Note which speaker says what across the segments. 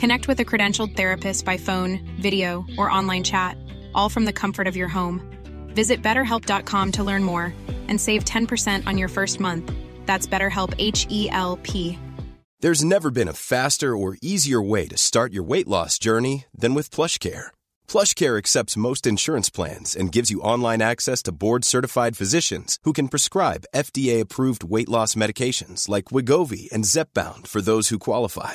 Speaker 1: Connect with a credentialed therapist by phone, video, or online chat, all from the comfort of your home. Visit betterhelp.com to learn more and save 10% on your first month. That's BetterHelp, H E L P.
Speaker 2: There's never been a faster or easier way to start your weight loss journey than with PlushCare. PlushCare accepts most insurance plans and gives you online access to board-certified physicians who can prescribe FDA-approved weight loss medications like Wigovi and Zepbound for those who qualify.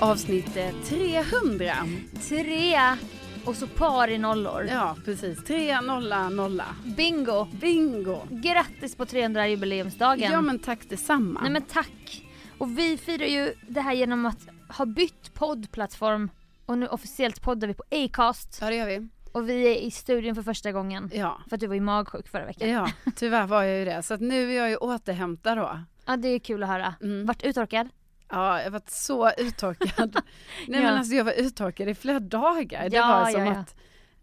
Speaker 3: Avsnitt eh, 300.
Speaker 4: Mm. Tre och så par i nollor.
Speaker 3: Ja, precis. 300.
Speaker 4: Bingo!
Speaker 3: Bingo.
Speaker 4: Grattis på 300-jubileumsdagen.
Speaker 3: Ja, men tack detsamma.
Speaker 4: Nej men tack! Och vi firar ju det här genom att ha bytt poddplattform och nu officiellt poddar vi på Acast
Speaker 3: Ja, det gör vi.
Speaker 4: och vi är i studion för första gången.
Speaker 3: Ja.
Speaker 4: För att du var ju magsjuk förra veckan.
Speaker 3: Ja, tyvärr var jag ju det. Så att nu är jag ju återhämtad då.
Speaker 4: Ja det är kul att höra.
Speaker 3: Mm.
Speaker 4: Vart uttorkad?
Speaker 3: Ja, jag har varit så uttorkad. Nej
Speaker 4: Ja.
Speaker 3: men alltså jag var uttorkad i flera dagar. Det
Speaker 4: Ja,
Speaker 3: var som
Speaker 4: ja, ja.
Speaker 3: att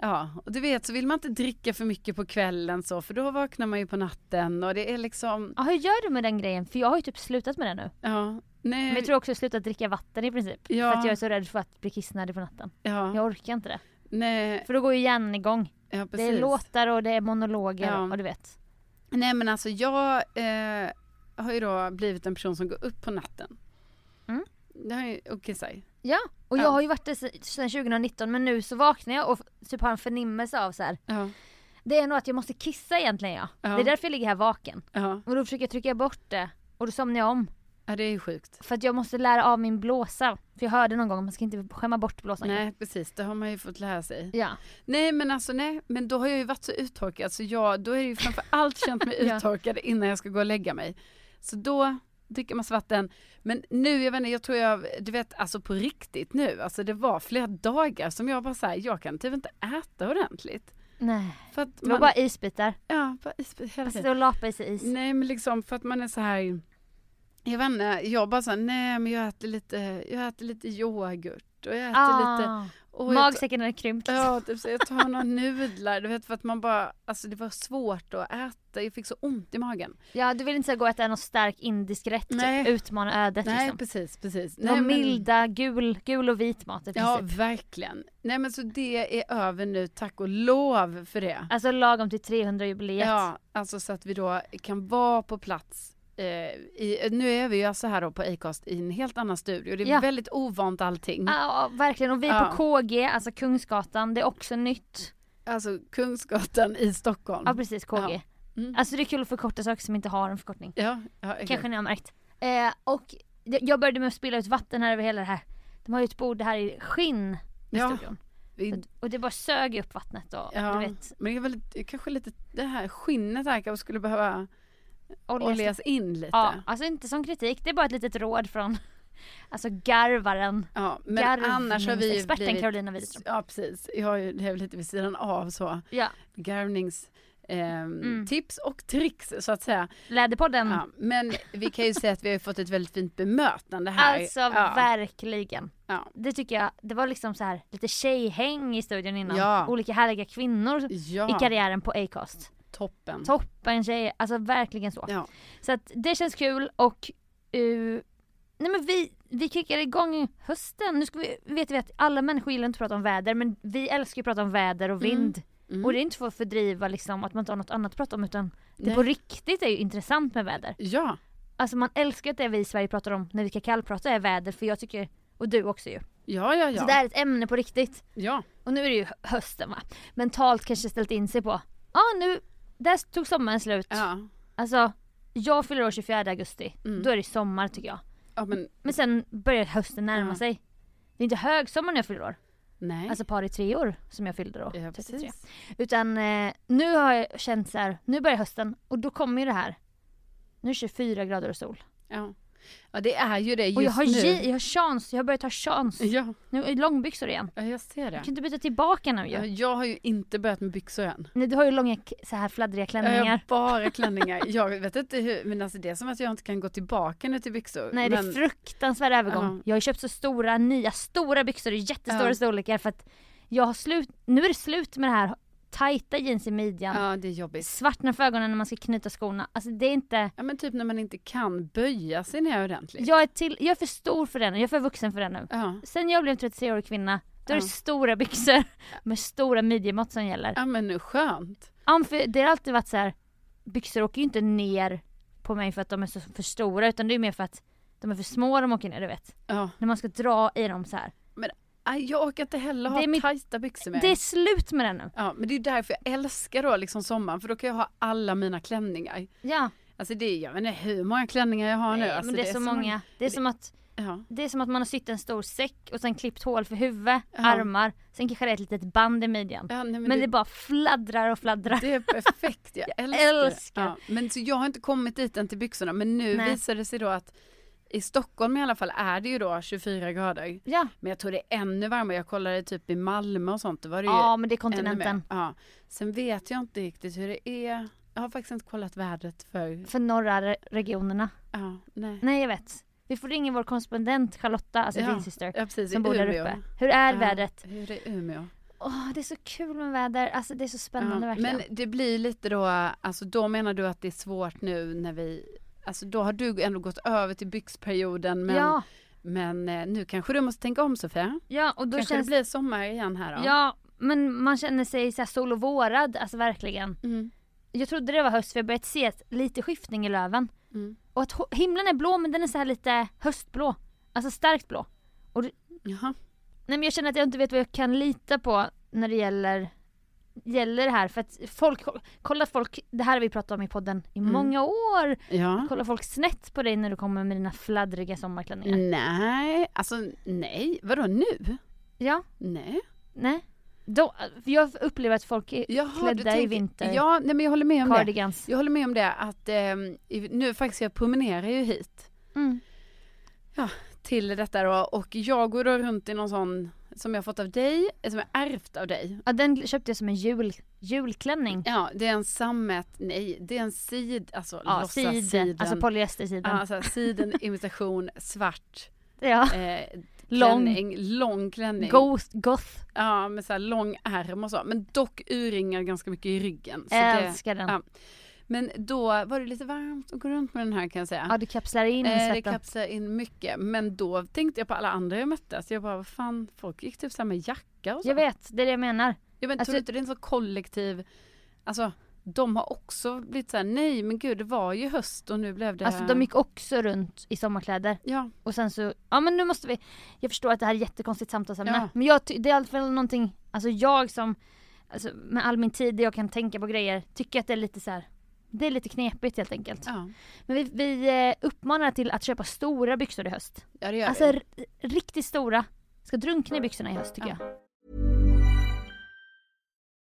Speaker 3: Ja, och du vet så vill man inte dricka för mycket på kvällen så för då vaknar man ju på natten och det är liksom,
Speaker 4: Ja hur gör du med den grejen? För jag har ju typ slutat med det nu.
Speaker 3: ja, nej,
Speaker 4: Men jag tror också jag har slutat dricka vatten i princip.
Speaker 3: Mm. Ja.
Speaker 4: För att jag är så rädd för att bli kissnödig på natten.
Speaker 3: ja,
Speaker 4: Jag orkar inte det.
Speaker 3: nej,
Speaker 4: För då går ju hjärnan igång.
Speaker 3: ja precis.
Speaker 4: Det är låtar och det är monologer
Speaker 3: Ja.
Speaker 4: och du vet.
Speaker 3: Nej men alltså jag eh, har ju då blivit en person som går upp på natten.
Speaker 4: Mm.
Speaker 3: Det har ju okej säg.
Speaker 4: Ja, och
Speaker 3: Ja.
Speaker 4: jag har ju varit det se- sedan 2019 men nu så vaknar jag och f- typ har en förnimmelse av så här.
Speaker 3: Ja,
Speaker 4: Det är nog att jag måste kissa egentligen ja.
Speaker 3: Ja.
Speaker 4: Det är därför jag ligger här vaken.
Speaker 3: ja,
Speaker 4: Och då försöker jag trycka bort det. Och då somnar jag om.
Speaker 3: ja det är ju sjukt.
Speaker 4: För att jag måste lära av min blåsa. För jag hörde någon gång att man ska inte skämma bort blåsan.
Speaker 3: Nej precis, det har man ju fått lära sig.
Speaker 4: Ja.
Speaker 3: Nej men alltså nej, men då har jag ju varit så uttorkad så jag, då är det ju framför allt känt mig
Speaker 4: Ja.
Speaker 3: uttorkad innan jag ska gå och lägga mig. Så då dricker man vatten. Men nu, jag vet inte, jag tror jag, du vet alltså på riktigt nu, alltså det var flera dagar som jag bara så här, jag kan typ inte äta ordentligt.
Speaker 4: Nej.
Speaker 3: För att
Speaker 4: Det var
Speaker 3: man,
Speaker 4: bara isbitar.
Speaker 3: ja, bara is, hela
Speaker 4: Jag
Speaker 3: tiden.
Speaker 4: sitter och lapar i sig is.
Speaker 3: Nej men liksom för att man är så här Jag vet inte, jag bara såhär, nej men jag äter lite, jag äter lite yoghurt och jag äter lite
Speaker 4: ah,
Speaker 3: och jag tar-
Speaker 4: Magsäcken hade krympt.
Speaker 3: Ja, typ så jag tar några nudlar, du vet för att man bara, alltså det var svårt att äta, jag fick så ont i magen.
Speaker 4: Ja du vill inte så här gå och äta någon stark indisk rätt, typ.
Speaker 3: Nej.
Speaker 4: utmana ödet
Speaker 3: nej
Speaker 4: liksom.
Speaker 3: precis, precis.
Speaker 4: Det var
Speaker 3: Nej, men-
Speaker 4: milda, gul, gul och vit mat i princip.
Speaker 3: Ja, verkligen. Nej men så det är över nu, tack och lov för det.
Speaker 4: Alltså lagom till 300-jubileet.
Speaker 3: Ja, alltså så att vi då kan vara på plats. Eh, i, nu är vi ju så här då på Acast i en helt annan studio. Det är
Speaker 4: Ja.
Speaker 3: väldigt ovant allting.
Speaker 4: Ja, verkligen. Och vi är
Speaker 3: Ja.
Speaker 4: på KG, alltså Kungsgatan, det är också nytt.
Speaker 3: Alltså Kungsgatan i Stockholm.
Speaker 4: Ja precis, KG.
Speaker 3: Mm.
Speaker 4: Alltså det är kul att förkorta saker som inte har en förkortning.
Speaker 3: Ja, ja, exakt.
Speaker 4: Kanske ni har märkt. Eh, och jag- jag började med att spilla ut vatten här över hela det här. De har ju ett bord här i skinn i
Speaker 3: Ja.
Speaker 4: studion.
Speaker 3: Vi,
Speaker 4: Och- Och det bara sög upp vattnet och
Speaker 3: ja.
Speaker 4: du vet,
Speaker 3: Men det är väl det är kanske lite det här skinnet här kanske skulle behöva
Speaker 4: olja.
Speaker 3: oljas in lite.
Speaker 4: Ja, alltså inte som kritik, det är bara ett litet råd från alltså garvaren.
Speaker 3: Ja, men annars har vi ju
Speaker 4: Garvningsexperten
Speaker 3: blivit...
Speaker 4: Carolina Widerström.
Speaker 3: Ja, precis. Jag har ju det är lite vid sidan av så.
Speaker 4: Ja,
Speaker 3: Garvnings... ehm,
Speaker 4: Mm.
Speaker 3: Tips och tricks så att säga.
Speaker 4: Läderpodden.
Speaker 3: Ja, men vi kan ju säga att vi har ju fått ett väldigt fint bemötande här.
Speaker 4: Alltså
Speaker 3: ja.
Speaker 4: verkligen.
Speaker 3: Ja.
Speaker 4: Det tycker jag, det var liksom så här lite tjejhäng i studion innan.
Speaker 3: Ja.
Speaker 4: Olika härliga kvinnor i
Speaker 3: ja,
Speaker 4: karriären på Acast.
Speaker 3: toppen.
Speaker 4: Toppen tjejer, alltså verkligen så.
Speaker 3: Ja.
Speaker 4: Så att det känns kul och eh, nej men vi, vi kickar igång hösten. Nu ska vi, vet vi att alla människor gillar inte att prata om väder men vi älskar ju att prata om väder och vind.
Speaker 3: Mm.
Speaker 4: Och det är inte för att fördriva liksom att man inte har något annat att prata om utan det
Speaker 3: Nej.
Speaker 4: på riktigt är ju intressant med väder.
Speaker 3: Ja,
Speaker 4: Alltså man älskar att det vi i Sverige pratar om när vi kan kallprata är väder för jag tycker, och du också ju.
Speaker 3: ja, ja,
Speaker 4: Så
Speaker 3: ja.
Speaker 4: det här är ett ämne på riktigt.
Speaker 3: ja.
Speaker 4: Och nu är det ju hö- hösten va. Mentalt kanske ställt in sig på, ja nu, där tog sommaren slut.
Speaker 3: ja.
Speaker 4: Alltså, jag fyller år 24 augusti.
Speaker 3: Mm.
Speaker 4: Då är det sommar tycker jag.
Speaker 3: Ja, men
Speaker 4: Men sen börjar hösten närma
Speaker 3: Ja.
Speaker 4: sig. Det är inte högsommar när jag fyller år.
Speaker 3: nej.
Speaker 4: Alltså par i tre år som jag fyllde då. 33.
Speaker 3: ja, precis.
Speaker 4: Utan eh, nu har jag känt så här, nu börjar hösten och då kommer ju det här. Nu är det 24 grader och sol.
Speaker 3: Ja. ja, det är ju det just
Speaker 4: och jag har,
Speaker 3: nu.
Speaker 4: je- jag har chans, jag har börjat ha chans.
Speaker 3: Ja,
Speaker 4: Nu är det långbyxor igen.
Speaker 3: ja, jag ser det.
Speaker 4: Jag kan inte byta tillbaka nu ju.
Speaker 3: Ja, jag har ju inte börjat med byxor än.
Speaker 4: Nej, du har ju långa k- så här fladdriga
Speaker 3: Jag
Speaker 4: klänningar.
Speaker 3: har bara klänningar. Jag vet inte hur, men alltså det är som att jag inte kan gå tillbaka nu till byxor.
Speaker 4: Nej
Speaker 3: men,
Speaker 4: det är fruktansvärd övergång.
Speaker 3: Ja.
Speaker 4: Jag har ju köpt så stora nya stora byxor i jättestora
Speaker 3: Ja.
Speaker 4: storlekar för att jag har slut, nu är det slut med det här tajta jeans i midjan.
Speaker 3: Ja, det är jobbigt.
Speaker 4: Svartna för ögonen när man ska knyta skorna. Alltså det är inte,
Speaker 3: Ja, men typ när man inte kan böja sig ner ordentligt.
Speaker 4: jag är, till, jag är för stor för den jag är för vuxen för den nu.
Speaker 3: Ja,
Speaker 4: Sen jag blev 33-årig kvinna, då är det
Speaker 3: Ja.
Speaker 4: stora byxor med stora midjemått som gäller.
Speaker 3: ja men skönt.
Speaker 4: Ja, men för det har alltid varit så här. byxor åker ju inte ner på mig för att de är så för stora utan det är mer för att de är för små de åker ner du vet.
Speaker 3: Ja.
Speaker 4: När man ska dra i dem så här.
Speaker 3: Aj, jag orkar inte heller
Speaker 4: Det
Speaker 3: ha
Speaker 4: är mitt-
Speaker 3: tajta byxor med.
Speaker 4: Det är slut med den nu.
Speaker 3: Ja, men det är därför jag älskar då liksom sommaren, för då kan jag ha alla mina klänningar.
Speaker 4: Ja,
Speaker 3: Alltså det är, jag vet inte hur många klänningar jag har nu.
Speaker 4: nej,
Speaker 3: Alltså
Speaker 4: men det är så många. Det är som att
Speaker 3: Ja,
Speaker 4: det är som att man har sytt en stor säck och sen klippt hål för huvud,
Speaker 3: Ja.
Speaker 4: armar, sen kanske det är ett litet band i midjan.
Speaker 3: ja nej, men,
Speaker 4: men det,
Speaker 3: det,
Speaker 4: bara fladdrar och fladdrar.
Speaker 3: det är perfekt. Jag älskar,
Speaker 4: älskar.
Speaker 3: det. Ja, men så jag har inte kommit dit än till byxorna, men nu
Speaker 4: Nej.
Speaker 3: visar det sig då att i Stockholm i alla fall är det ju då 24 grader.
Speaker 4: Ja,
Speaker 3: Men jag tror det är ännu varmare. Jag kollade typ i Malmö och sånt, då var det ju
Speaker 4: ja men det är
Speaker 3: ännu mer.
Speaker 4: kontinenten.
Speaker 3: Ja. Sen vet jag inte riktigt hur det är. Jag har faktiskt inte kollat vädret för...
Speaker 4: För norra re- regionerna.
Speaker 3: Ja, nej.
Speaker 4: Nej jag vet. Vi får ringa vår korrespondent Charlotta, alltså
Speaker 3: Ja,
Speaker 4: din syster,
Speaker 3: Ja, precis,
Speaker 4: som
Speaker 3: i
Speaker 4: bor där
Speaker 3: Umeå.
Speaker 4: uppe. Hur är
Speaker 3: Ja,
Speaker 4: vädret?
Speaker 3: Hur är Umeå?
Speaker 4: Åh det är så kul med väder, alltså det är så spännande
Speaker 3: Ja,
Speaker 4: verkligen.
Speaker 3: Men det blir lite då, alltså då menar du att det är svårt nu när vi, alltså då har du ändå gått över till byxperioden men,
Speaker 4: ja,
Speaker 3: men eh, nu kanske du måste tänka om Sofia.
Speaker 4: ja och då
Speaker 3: kanske
Speaker 4: känns
Speaker 3: det blir sommar igen här då.
Speaker 4: Ja, men man känner sig så här sol och vårad, alltså verkligen.
Speaker 3: Mm.
Speaker 4: Jag trodde det var höst för jag börjat se ett, lite skiftning i löven.
Speaker 3: Mm.
Speaker 4: Och att ho- himlen är blå men den är så här lite höstblå. Alltså starkt blå.
Speaker 3: Jaha.
Speaker 4: Nej men jag känner att jag inte vet vad jag kan lita på när det gäller, gäller det här. För att folk, kolla att folk, det här har vi pratat om i podden i
Speaker 3: Mm.
Speaker 4: många år.
Speaker 3: Ja.
Speaker 4: Kolla folk snett på dig när du kommer med dina fladdriga sommarklänningar.
Speaker 3: Mm. Nej, alltså nej, vadå nu?
Speaker 4: Ja,
Speaker 3: Nej.
Speaker 4: nej. Då, jag upplever att folk är
Speaker 3: Jaha, du
Speaker 4: klädda i
Speaker 3: tänker-
Speaker 4: vinter,
Speaker 3: Ja, nej men jag håller med om det.
Speaker 4: cardigans.
Speaker 3: Jag håller med om det att ehm, i- nu faktiskt jag promenerar ju hit.
Speaker 4: Mm.
Speaker 3: till detta då och jag går då runt i någon sån som jag fått av dig, som jag ärvt av dig.
Speaker 4: Ja den köpte jag som en jul, julklänning.
Speaker 3: Ja, det är en sammet, nej, det är en sid, alltså
Speaker 4: Ja,
Speaker 3: låtsas
Speaker 4: siden, alltså polyestersidan.
Speaker 3: ja, alltså siden, imitation, svart,
Speaker 4: ja.
Speaker 3: eh,
Speaker 4: Lång.
Speaker 3: klänning, lång klänning.
Speaker 4: Goth, goth.
Speaker 3: Ja, med så här lång ärm och så, men dock urringar ganska mycket i ryggen. Så det,
Speaker 4: Älskar den.
Speaker 3: ja. men då var det lite varmt att gå runt med den här kan jag säga.
Speaker 4: Ja du kapslar in i
Speaker 3: Eh, det
Speaker 4: svetten.
Speaker 3: kapsar in mycket. Men då tänkte jag på alla andra jag mötte. Så jag bara, vad fan, folk gick typ så här med jacka och så.
Speaker 4: Jag vet, det är det jag menar.
Speaker 3: Ja, men
Speaker 4: Alltså-
Speaker 3: tror du inte det är en sån kollektiv, alltså de har också blivit så här, nej men gud det var ju höst och nu blev det.
Speaker 4: Alltså de gick också runt i sommarkläder
Speaker 3: Ja,
Speaker 4: och sen så, ja men nu måste vi, jag förstår att det här är ett jättekonstigt samtalsämne
Speaker 3: Ja.
Speaker 4: men jag, ty- det är i alla fall någonting, alltså jag som, alltså med all min tid där jag kan tänka på grejer, tycker att det är lite så här. det är lite knepigt helt enkelt.
Speaker 3: ja,
Speaker 4: Men vi, vi eh, uppmanar till att köpa stora byxor i höst.
Speaker 3: ja det gör
Speaker 4: Alltså
Speaker 3: det.
Speaker 4: r- riktigt stora. Ska drunkna i byxorna i höst tycker jag.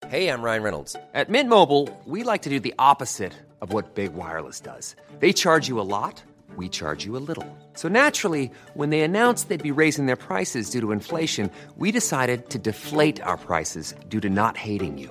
Speaker 5: Hey, I'm Ryan Reynolds. At Mint Mobile, we like to do the opposite of what Big Wireless does. They charge you a lot, we charge you a little. So naturally, when they announced they'd be raising their prices due to inflation, we decided to deflate our prices due to not hating you.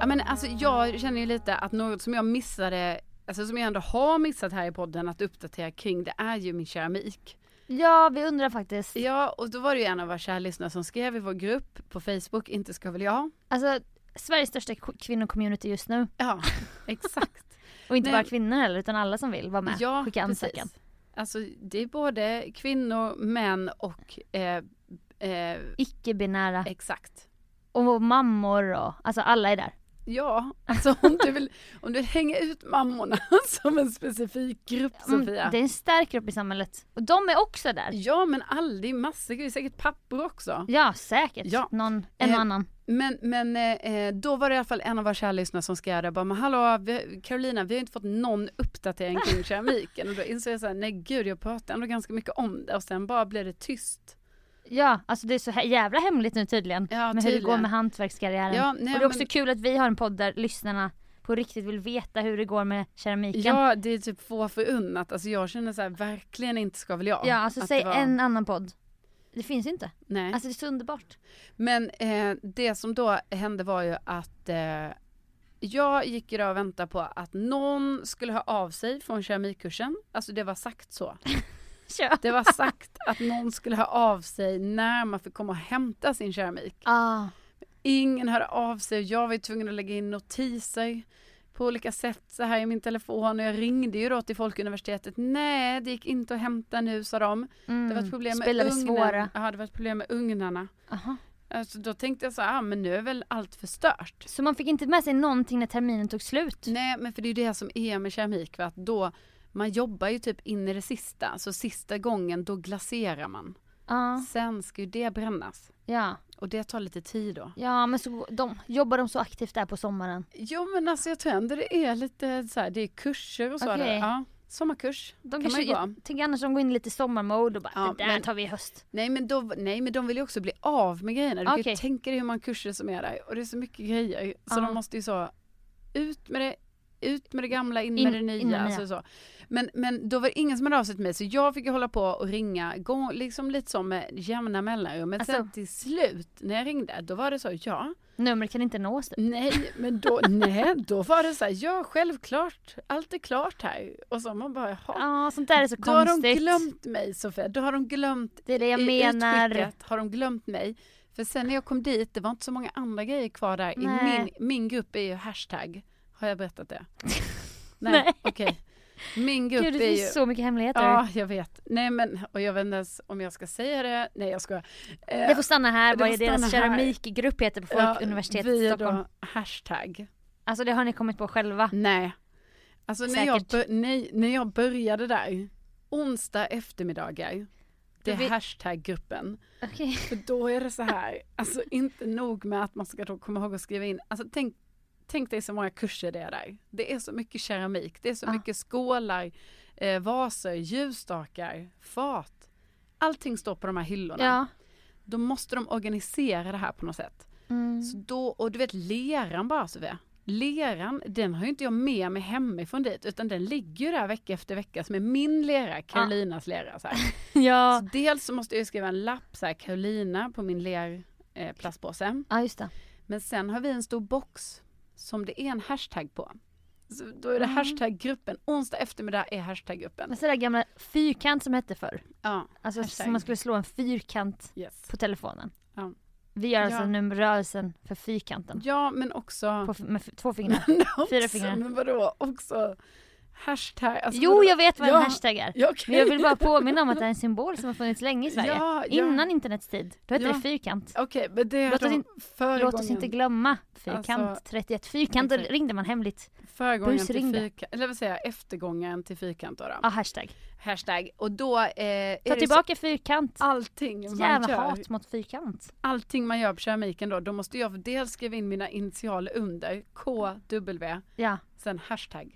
Speaker 3: Ja, men alltså, jag känner ju lite att något som jag missade, alltså som jag ändå har missat här i podden att uppdatera kring, det är ju min keramik.
Speaker 4: Ja, vi undrar faktiskt.
Speaker 3: Ja, och då var det ju en av våra kära lyssnare som skrev i vår grupp på Facebook, inte ska väl jag?
Speaker 4: Alltså, Sveriges största k- kvinnocommunity just nu.
Speaker 3: Ja, exakt.
Speaker 4: Och inte
Speaker 3: Nej.
Speaker 4: bara kvinnor heller, utan alla som vill vara med.
Speaker 3: ja,
Speaker 4: Skicka
Speaker 3: precis.
Speaker 4: ansökan.
Speaker 3: Alltså det är både kvinnor, män och eh, eh,
Speaker 4: Icke-binära.
Speaker 3: exakt.
Speaker 4: Och mammor och, alltså alla är där.
Speaker 3: Ja, alltså om du vill, om du vill hänga ut mammorna som en specifik grupp
Speaker 4: Mm,
Speaker 3: Sofia.
Speaker 4: Det är en stark grupp i samhället. Och de är också där.
Speaker 3: Ja men all, det är massor, det är säkert pappor också.
Speaker 4: Ja, säkert.
Speaker 3: Ja.
Speaker 4: Någon, en
Speaker 3: Eh,
Speaker 4: och annan.
Speaker 3: Men, men eh, eh, då var det i alla fall en av våra kära lyssnare som skrev det, bara men hallå vi, Carolina vi har inte fått någon uppdatering kring keramiken och då insåg jag såhär nej gud jag pratar ändå ganska mycket om det och sen bara blev det tyst.
Speaker 4: Ja, alltså det är så här jävla hemligt nu tydligen.
Speaker 3: Ja,
Speaker 4: med hur det går
Speaker 3: tydligen.
Speaker 4: med hantverkskarriären.
Speaker 3: Ja,
Speaker 4: och
Speaker 3: nej,
Speaker 4: det är
Speaker 3: men-
Speaker 4: också kul att vi har en podd där lyssnarna på riktigt vill veta hur det går med keramiken.
Speaker 3: Ja det är typ få förunnat, alltså jag känner såhär verkligen inte ska väl jag.
Speaker 4: ja alltså
Speaker 3: Att
Speaker 4: säg
Speaker 3: det var-
Speaker 4: en annan podd. Det finns ju inte.
Speaker 3: Nej.
Speaker 4: Alltså det är så underbart.
Speaker 3: Men eh, det som då hände var ju att eh, jag gick ju då och väntade på att någon skulle höra av sig från keramikkursen. Alltså det var sagt så.
Speaker 4: Kör.
Speaker 3: Det var sagt att någon skulle höra av sig när man fick komma och hämta sin keramik.
Speaker 4: Ah,
Speaker 3: Ingen hörde av sig och jag var ju tvungen att lägga in notiser på olika sätt så här i min telefon och jag ringde ju då till Folkuniversitetet. Nej, det gick inte att hämta nu sa de.
Speaker 4: mm.
Speaker 3: Det var ett problem med
Speaker 4: Spelade
Speaker 3: ugnen.
Speaker 4: svåra.
Speaker 3: Ja, det var ett problem med ugnarna.
Speaker 4: Aha.
Speaker 3: Alltså, då tänkte jag så här, ah, men nu är väl allt förstört.
Speaker 4: Så man fick inte med sig någonting när terminen tog slut?
Speaker 3: Nej, men för det är ju det som är med keramik, va? att då man jobbar ju typ in i det sista, så sista gången då glaserar man.
Speaker 4: Ja,
Speaker 3: Sen ska ju det brännas
Speaker 4: Ah, ja.
Speaker 3: och det tar lite tid då.
Speaker 4: Ja men så de, jobbar de så aktivt där på sommaren?
Speaker 3: Jo, men alltså jag tror ändå det är lite så här, det är kurser och så.
Speaker 4: Okej.
Speaker 3: där. Ja, sommarkurs
Speaker 4: De
Speaker 3: kan
Speaker 4: kanske,
Speaker 3: man ju gå.
Speaker 4: jag tänker annars de går in lite i sommarmode och bara
Speaker 3: Ja,
Speaker 4: det där
Speaker 3: men-
Speaker 4: tar vi i höst.
Speaker 3: Nej men, då, nej, men de vill ju också bli av med grejerna. Du kan
Speaker 4: Okej.
Speaker 3: ju tänka dig hur många kurser som är där och det är så mycket grejer. Så
Speaker 4: Ja.
Speaker 3: de måste ju så, ut med det, ut med det gamla, in,
Speaker 4: In-
Speaker 3: med det nya.
Speaker 4: in med det nya.
Speaker 3: Alltså så. Men, men då var det ingen som hade av sig till mig så jag fick ju hålla på och ringa, gå, liksom lite som med jämna mellanrum. Men sen
Speaker 4: Alltså-
Speaker 3: till slut när jag ringde, då var det så, ja,
Speaker 4: Numret kan inte nås. typ.
Speaker 3: nej, men då, nej, då var det så här, ja självklart, allt är klart här. Och så man bara, jaha.
Speaker 4: Ja sånt där är så
Speaker 3: Då har de
Speaker 4: konstigt.
Speaker 3: glömt mig Sofia, då har de glömt
Speaker 4: Det är det jag
Speaker 3: i
Speaker 4: menar.
Speaker 3: utskicket har de glömt mig. För sen när jag kom dit, det var inte så många andra grejer kvar där. I
Speaker 4: Nej.
Speaker 3: min, min grupp är ju hashtag. Har jag berättat det?
Speaker 4: Nej.
Speaker 3: Nej, okej. Min grupp
Speaker 4: Gud det
Speaker 3: är
Speaker 4: finns
Speaker 3: ju...
Speaker 4: så mycket hemligheter.
Speaker 3: Ja, jag vet. Nej men, och jag vet inte ens om jag ska säga det. Nej, jag ska.
Speaker 4: Det får stanna här
Speaker 3: Det
Speaker 4: vad
Speaker 3: får
Speaker 4: är deras
Speaker 3: stanna här.
Speaker 4: keramikgrupp heter på Folkuniversitetet
Speaker 3: Eh, vi
Speaker 4: i
Speaker 3: är
Speaker 4: Stockholm.
Speaker 3: då hashtag.
Speaker 4: Alltså det har ni kommit på själva.
Speaker 3: Nej. Alltså när jag,
Speaker 4: Säkert.
Speaker 3: bör- nej, när jag började där, onsdag eftermiddagar, det
Speaker 4: Det
Speaker 3: är
Speaker 4: blir-
Speaker 3: hashtaggruppen.
Speaker 4: Okej.
Speaker 3: För då är det så här, alltså inte nog med att man ska då komma ihåg att skriva in, alltså tänk, tänk dig så många kurser det är där. Det är så mycket keramik, det är så
Speaker 4: Ja.
Speaker 3: mycket skålar, eh, vaser, ljusstakar, fat. Allting står på de här hyllorna.
Speaker 4: Ja.
Speaker 3: Då måste de organisera det här på något sätt.
Speaker 4: Mm.
Speaker 3: Så då, och du vet leran bara Sofia. Leran, den har ju inte jag med mig hemifrån dit utan den ligger ju där vecka efter vecka som är min lera, Karolinas lera. Så här.
Speaker 4: Ja,
Speaker 3: Så dels så måste jag ju skriva en lapp så här, Karolina på min ler, eh, plastpåse.
Speaker 4: ja just det.
Speaker 3: Men sen har vi en stor box som det är en hashtag på. Så då är det hashtaggruppen. Onsdag eftermiddag är hashtaggruppen.
Speaker 4: Mm. Men så där gamla fyrkant som hette förr.
Speaker 3: Ja,
Speaker 4: Alltså
Speaker 3: hashtag.
Speaker 4: som man skulle slå en fyrkant
Speaker 3: yes.
Speaker 4: på telefonen.
Speaker 3: Ja.
Speaker 4: Vi gör alltså
Speaker 3: Ja.
Speaker 4: nu rörelsen för fyrkanten.
Speaker 3: ja, men också...
Speaker 4: På, f- med f- två fingrar.
Speaker 3: Men också-
Speaker 4: fyra fingrar.
Speaker 3: Men vadå, också hashtag? Alltså
Speaker 4: Jo
Speaker 3: vadå?
Speaker 4: jag vet vad en
Speaker 3: Ja,
Speaker 4: hashtag är.
Speaker 3: ja, okej.
Speaker 4: Men jag vill bara påminna om att det är en symbol som har funnits länge i Sverige.
Speaker 3: Ja, ja.
Speaker 4: Innan internets tid. Då hette
Speaker 3: Ja.
Speaker 4: det fyrkant.
Speaker 3: Okej, men det
Speaker 4: Låt oss
Speaker 3: de
Speaker 4: in-
Speaker 3: förra
Speaker 4: Låt oss
Speaker 3: gången-
Speaker 4: inte glömma fyrkant
Speaker 3: Alltså-
Speaker 4: 31. Fyrkant
Speaker 3: Exakt.
Speaker 4: ringde man hemligt.
Speaker 3: Förra gången till
Speaker 4: busringde.
Speaker 3: fyrkant, eller vad säger jag, eftergången till fyrkant då. då.
Speaker 4: Ja hashtag.
Speaker 3: Hashtag. Och då eh, är
Speaker 4: Ah. Ta
Speaker 3: det så
Speaker 4: tillbaka fyrkant.
Speaker 3: allting man
Speaker 4: Jävla
Speaker 3: gör
Speaker 4: hat mot fyrkant.
Speaker 3: allting man gör på keramiken då, då måste jag dels skriva in mina initialer under, KW,
Speaker 4: Ja.
Speaker 3: sen hashtag.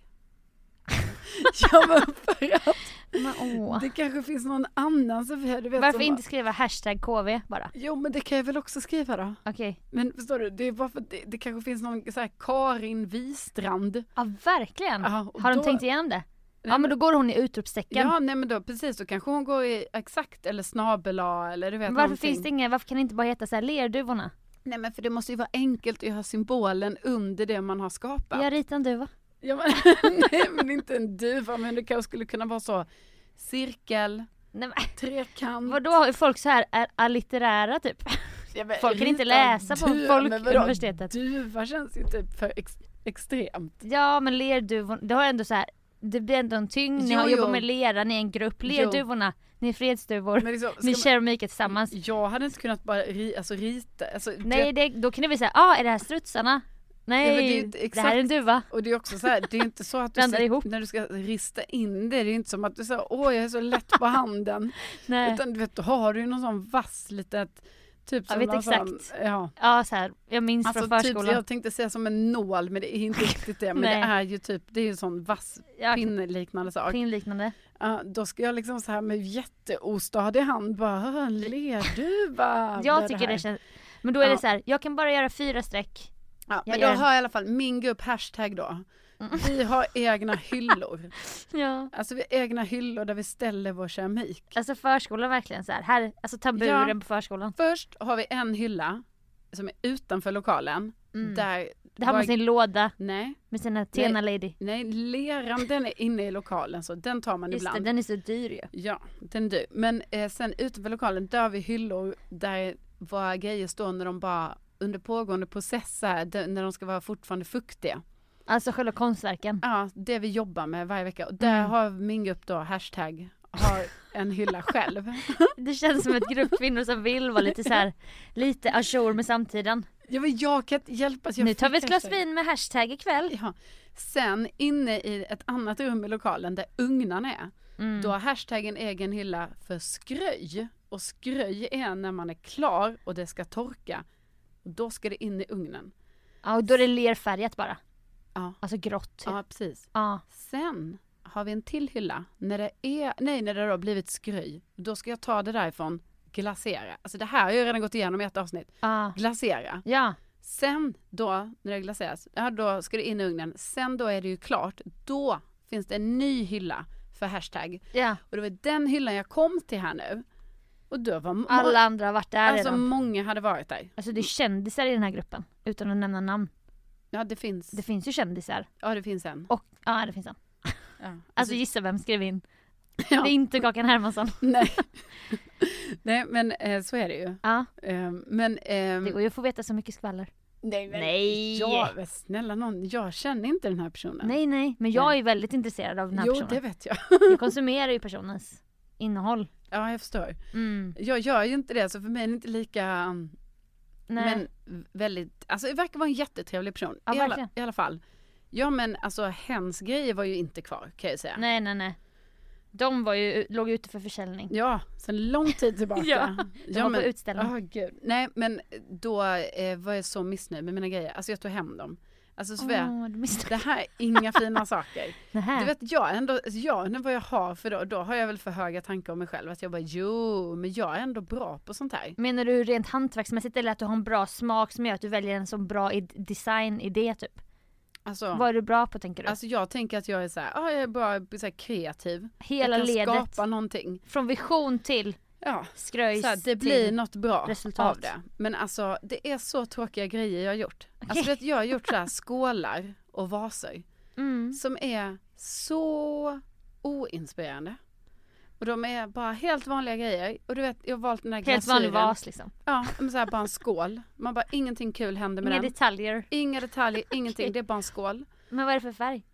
Speaker 3: ja men för att
Speaker 4: Men, åh.
Speaker 3: det kanske finns någon annan Sofia, du vet
Speaker 4: Varför
Speaker 3: som
Speaker 4: inte skriva hashtag KV bara?
Speaker 3: Jo men det kan jag väl också skriva då.
Speaker 4: Okej.
Speaker 3: Men förstår du, det är bara för att det, det kanske finns någon så här Karin Wistrand.
Speaker 4: Ja verkligen.
Speaker 3: Ja, och
Speaker 4: har de
Speaker 3: då-
Speaker 4: tänkt igenom det? Ja men då går hon i utropstecken.
Speaker 3: Ja nej men då precis, då kanske hon går i exakt eller snabel A eller du vet
Speaker 4: Men varför
Speaker 3: någonting.
Speaker 4: finns det inga, varför kan det inte bara heta så här lerduvorna?
Speaker 3: Nej men för det måste ju vara enkelt att ha symbolen under det man har skapat.
Speaker 4: Jag ritar en duva.
Speaker 3: Ja, men, nej men inte en duva men det kanske skulle kunna vara så cirkel,
Speaker 4: Nej, men,
Speaker 3: trekant.
Speaker 4: vadå har ju folk så här är allitterära typ?
Speaker 3: Ja, men
Speaker 4: folk kan inte
Speaker 3: rita
Speaker 4: läsa på
Speaker 3: duva,
Speaker 4: folk-
Speaker 3: men vadå?
Speaker 4: universitetet.
Speaker 3: Duva känns ju typ för ex- extremt.
Speaker 4: Ja men lerduvor, det har ändå så här. Det blir ändå en tyngd, ni
Speaker 3: Jo,
Speaker 4: har
Speaker 3: jo.
Speaker 4: jobbat med lera, ni är en grupp. Lerduvorna, ni är fredsduvor.
Speaker 3: Men liksom, ska
Speaker 4: ni
Speaker 3: man-
Speaker 4: keramiker tillsammans.
Speaker 3: Jag hade inte kunnat bara ri, alltså, rita. Alltså,
Speaker 4: Alltså- Nej
Speaker 3: det,
Speaker 4: det, då kan ni väl säga, ah är det här strutsarna?
Speaker 3: men det är
Speaker 4: Nej,
Speaker 3: ju inte
Speaker 4: det, här är en
Speaker 3: exakt-
Speaker 4: duva.
Speaker 3: och det är också så här, det är inte så att du
Speaker 4: Blandar
Speaker 3: sit-
Speaker 4: ihop.
Speaker 3: när du ska rista in det, det är ju inte som att du säger åh jag är så lätt på handen.
Speaker 4: Nej.
Speaker 3: Utan du vet, då har du ju någon sån vass litet, typ
Speaker 4: Jag
Speaker 3: som
Speaker 4: vet
Speaker 3: någon sån,
Speaker 4: exakt.
Speaker 3: ja.
Speaker 4: Ja så här, jag minns
Speaker 3: Alltså
Speaker 4: från
Speaker 3: typ,
Speaker 4: förskolan.
Speaker 3: jag tänkte säga som en nål men det är inte riktigt det. Men det
Speaker 4: Nej.
Speaker 3: är ju typ, det är ju en sån vass
Speaker 4: Ja,
Speaker 3: pinnliknande sak.
Speaker 4: Pinliknande.
Speaker 3: Ja, då ska jag liksom så här med jätteostadig hand bara, "Hör, en lerduva.
Speaker 4: Jag
Speaker 3: med
Speaker 4: tycker det,
Speaker 3: här."
Speaker 4: känns, men då är
Speaker 3: Ja.
Speaker 4: det så här, jag kan bara göra fyra streck.
Speaker 3: Ja,
Speaker 4: jag
Speaker 3: men då
Speaker 4: gör en-
Speaker 3: har jag i alla fall min grupp hashtag då.
Speaker 4: Mm.
Speaker 3: Vi har egna hyllor.
Speaker 4: Ja.
Speaker 3: Alltså vi har egna hyllor där vi ställer vår keramik.
Speaker 4: Alltså förskolan verkligen så här, här alltså tamburen
Speaker 3: Ja.
Speaker 4: på förskolan.
Speaker 3: Först har vi en hylla som är utanför lokalen. Där
Speaker 4: Mm. Det har man
Speaker 3: var-
Speaker 4: sin låda
Speaker 3: Nej,
Speaker 4: med sina Tena
Speaker 3: Nej.
Speaker 4: Lady.
Speaker 3: nej, leran den är inne i lokalen så den tar man
Speaker 4: Just
Speaker 3: ibland.
Speaker 4: det, den är så dyr ju.
Speaker 3: Ja, den du. Men eh, sen utanför lokalen, där har vi hyllor där våra grejer står när de bara under pågående processer, där- när de ska vara fortfarande fuktiga.
Speaker 4: Alltså själva konstverken.
Speaker 3: Ja, det vi jobbar med varje vecka. Och
Speaker 4: Mm.
Speaker 3: där har min grupp då, hashtag, har en hylla själv.
Speaker 4: Det känns som ett grupp kvinnor som vill vara lite så här, lite ajour med samtiden.
Speaker 3: ja, men jag kan inte hjälpa. så Jag
Speaker 4: Nu tar
Speaker 3: fick
Speaker 4: vi ett glas
Speaker 3: hashtag.
Speaker 4: vin med hashtag ikväll.
Speaker 3: Ja. Sen inne i ett annat rum i lokalen där ugnarna är,
Speaker 4: Mm.
Speaker 3: då har hashtaggen egen hylla för skröj. Och skröj är när man är klar och det ska torka. Och då ska det in i ugnen.
Speaker 4: Ja och då är det lerfärgat bara.
Speaker 3: Ja.
Speaker 4: Alltså grått. typ.
Speaker 3: Ja, precis.
Speaker 4: Ja.
Speaker 3: Sen har vi en till hylla. När det, är, nej, när det då har blivit skry, då ska jag ta det därifrån, glasera. Alltså det här har jag redan gått igenom i ett avsnitt.
Speaker 4: Ja.
Speaker 3: Glasera.
Speaker 4: Ja.
Speaker 3: Sen då, när det glaseras, alltså. ja, då ska det in i ugnen. Sen då är det ju klart. Då finns det en ny hylla för hashtag.
Speaker 4: ja.
Speaker 3: Och det var den hyllan jag kom till här nu. Och då var må-
Speaker 4: Alla andra har varit där
Speaker 3: alltså
Speaker 4: redan.
Speaker 3: många hade varit där.
Speaker 4: Alltså det är kändisar i den här gruppen. Utan att nämna namn.
Speaker 3: Ja, det finns.
Speaker 4: Det finns ju kändisar.
Speaker 3: Ja, det finns en.
Speaker 4: Och, ja det finns en.
Speaker 3: Ja.
Speaker 4: Alltså gissa vem skrev in?
Speaker 3: Ja.
Speaker 4: Det är inte Kakan Hermansson.
Speaker 3: Nej. Nej, men eh, så är det ju.
Speaker 4: Ja,
Speaker 3: Eh, men... ehm,
Speaker 4: det går ju att få veta så mycket skvaller.
Speaker 3: Nej, men,
Speaker 4: Nej.
Speaker 3: Ja, men snälla någon, jag känner inte den här personen.
Speaker 4: Nej nej, men jag är väldigt intresserad av den här
Speaker 3: jo,
Speaker 4: personen.
Speaker 3: det vet jag.
Speaker 4: Jag konsumerar ju personens innehåll.
Speaker 3: ja, jag förstår.
Speaker 4: Mm.
Speaker 3: Jag gör ju inte det, så för mig är det inte lika... um,
Speaker 4: Nej.
Speaker 3: Men väldigt, alltså det verkar vara en jättetrevlig person.
Speaker 4: Ja,
Speaker 3: I, alla,
Speaker 4: verkligen.
Speaker 3: I alla fall. Ja, men alltså hens grejer var ju inte kvar, kan jag säga.
Speaker 4: nej nej nej. De var ju, låg ute för försäljning.
Speaker 3: Ja, sen lång tid tillbaka.
Speaker 4: Ja, de var på utställning.
Speaker 3: ah, gud. Nej, men då eh, var jag så missnöjd med mina grejer. Alltså jag tog hem dem. Alltså Sofia,
Speaker 4: Åh, du
Speaker 3: det
Speaker 4: missade.
Speaker 3: här är inga fina saker.
Speaker 4: Nähä.
Speaker 3: Du vet, jag ändå, alltså, jag undrar vad jag har för då, då har jag väl för höga tankar om mig själv. Att jag bara, jo, men jag är ändå bra på sånt här.
Speaker 4: Menar du rent hantverksmässigt eller att du har en bra smak som gör att du väljer en så bra id- designidé typ?
Speaker 3: Alltså,
Speaker 4: Vad är du bra på tänker du?
Speaker 3: alltså jag tänker att jag är så här, ah, jag är bara så här, kreativ.
Speaker 4: Hela
Speaker 3: jag kan
Speaker 4: ledet.
Speaker 3: skapa någonting.
Speaker 4: Från vision till
Speaker 3: Ja.
Speaker 4: skröjs
Speaker 3: Så här, det
Speaker 4: till-
Speaker 3: blir något bra
Speaker 4: resultat.
Speaker 3: av det. Men alltså det är så tråkiga grejer jag har gjort. Alltså, vet, jag har gjort så här skålar och vaser
Speaker 4: Mm.
Speaker 3: som är så oinspirerande. Och de är bara helt vanliga grejer. Och du vet jag har valt den här
Speaker 4: Helt vanlig
Speaker 3: glasyren.
Speaker 4: vas liksom.
Speaker 3: Ja, men så här, bara en skål. Man bara ingenting kul händer med
Speaker 4: Inga
Speaker 3: den.
Speaker 4: detaljer.
Speaker 3: Inga detaljer, ingenting.
Speaker 4: Okej.
Speaker 3: Det är bara en skål.
Speaker 4: Men vad är det för färg?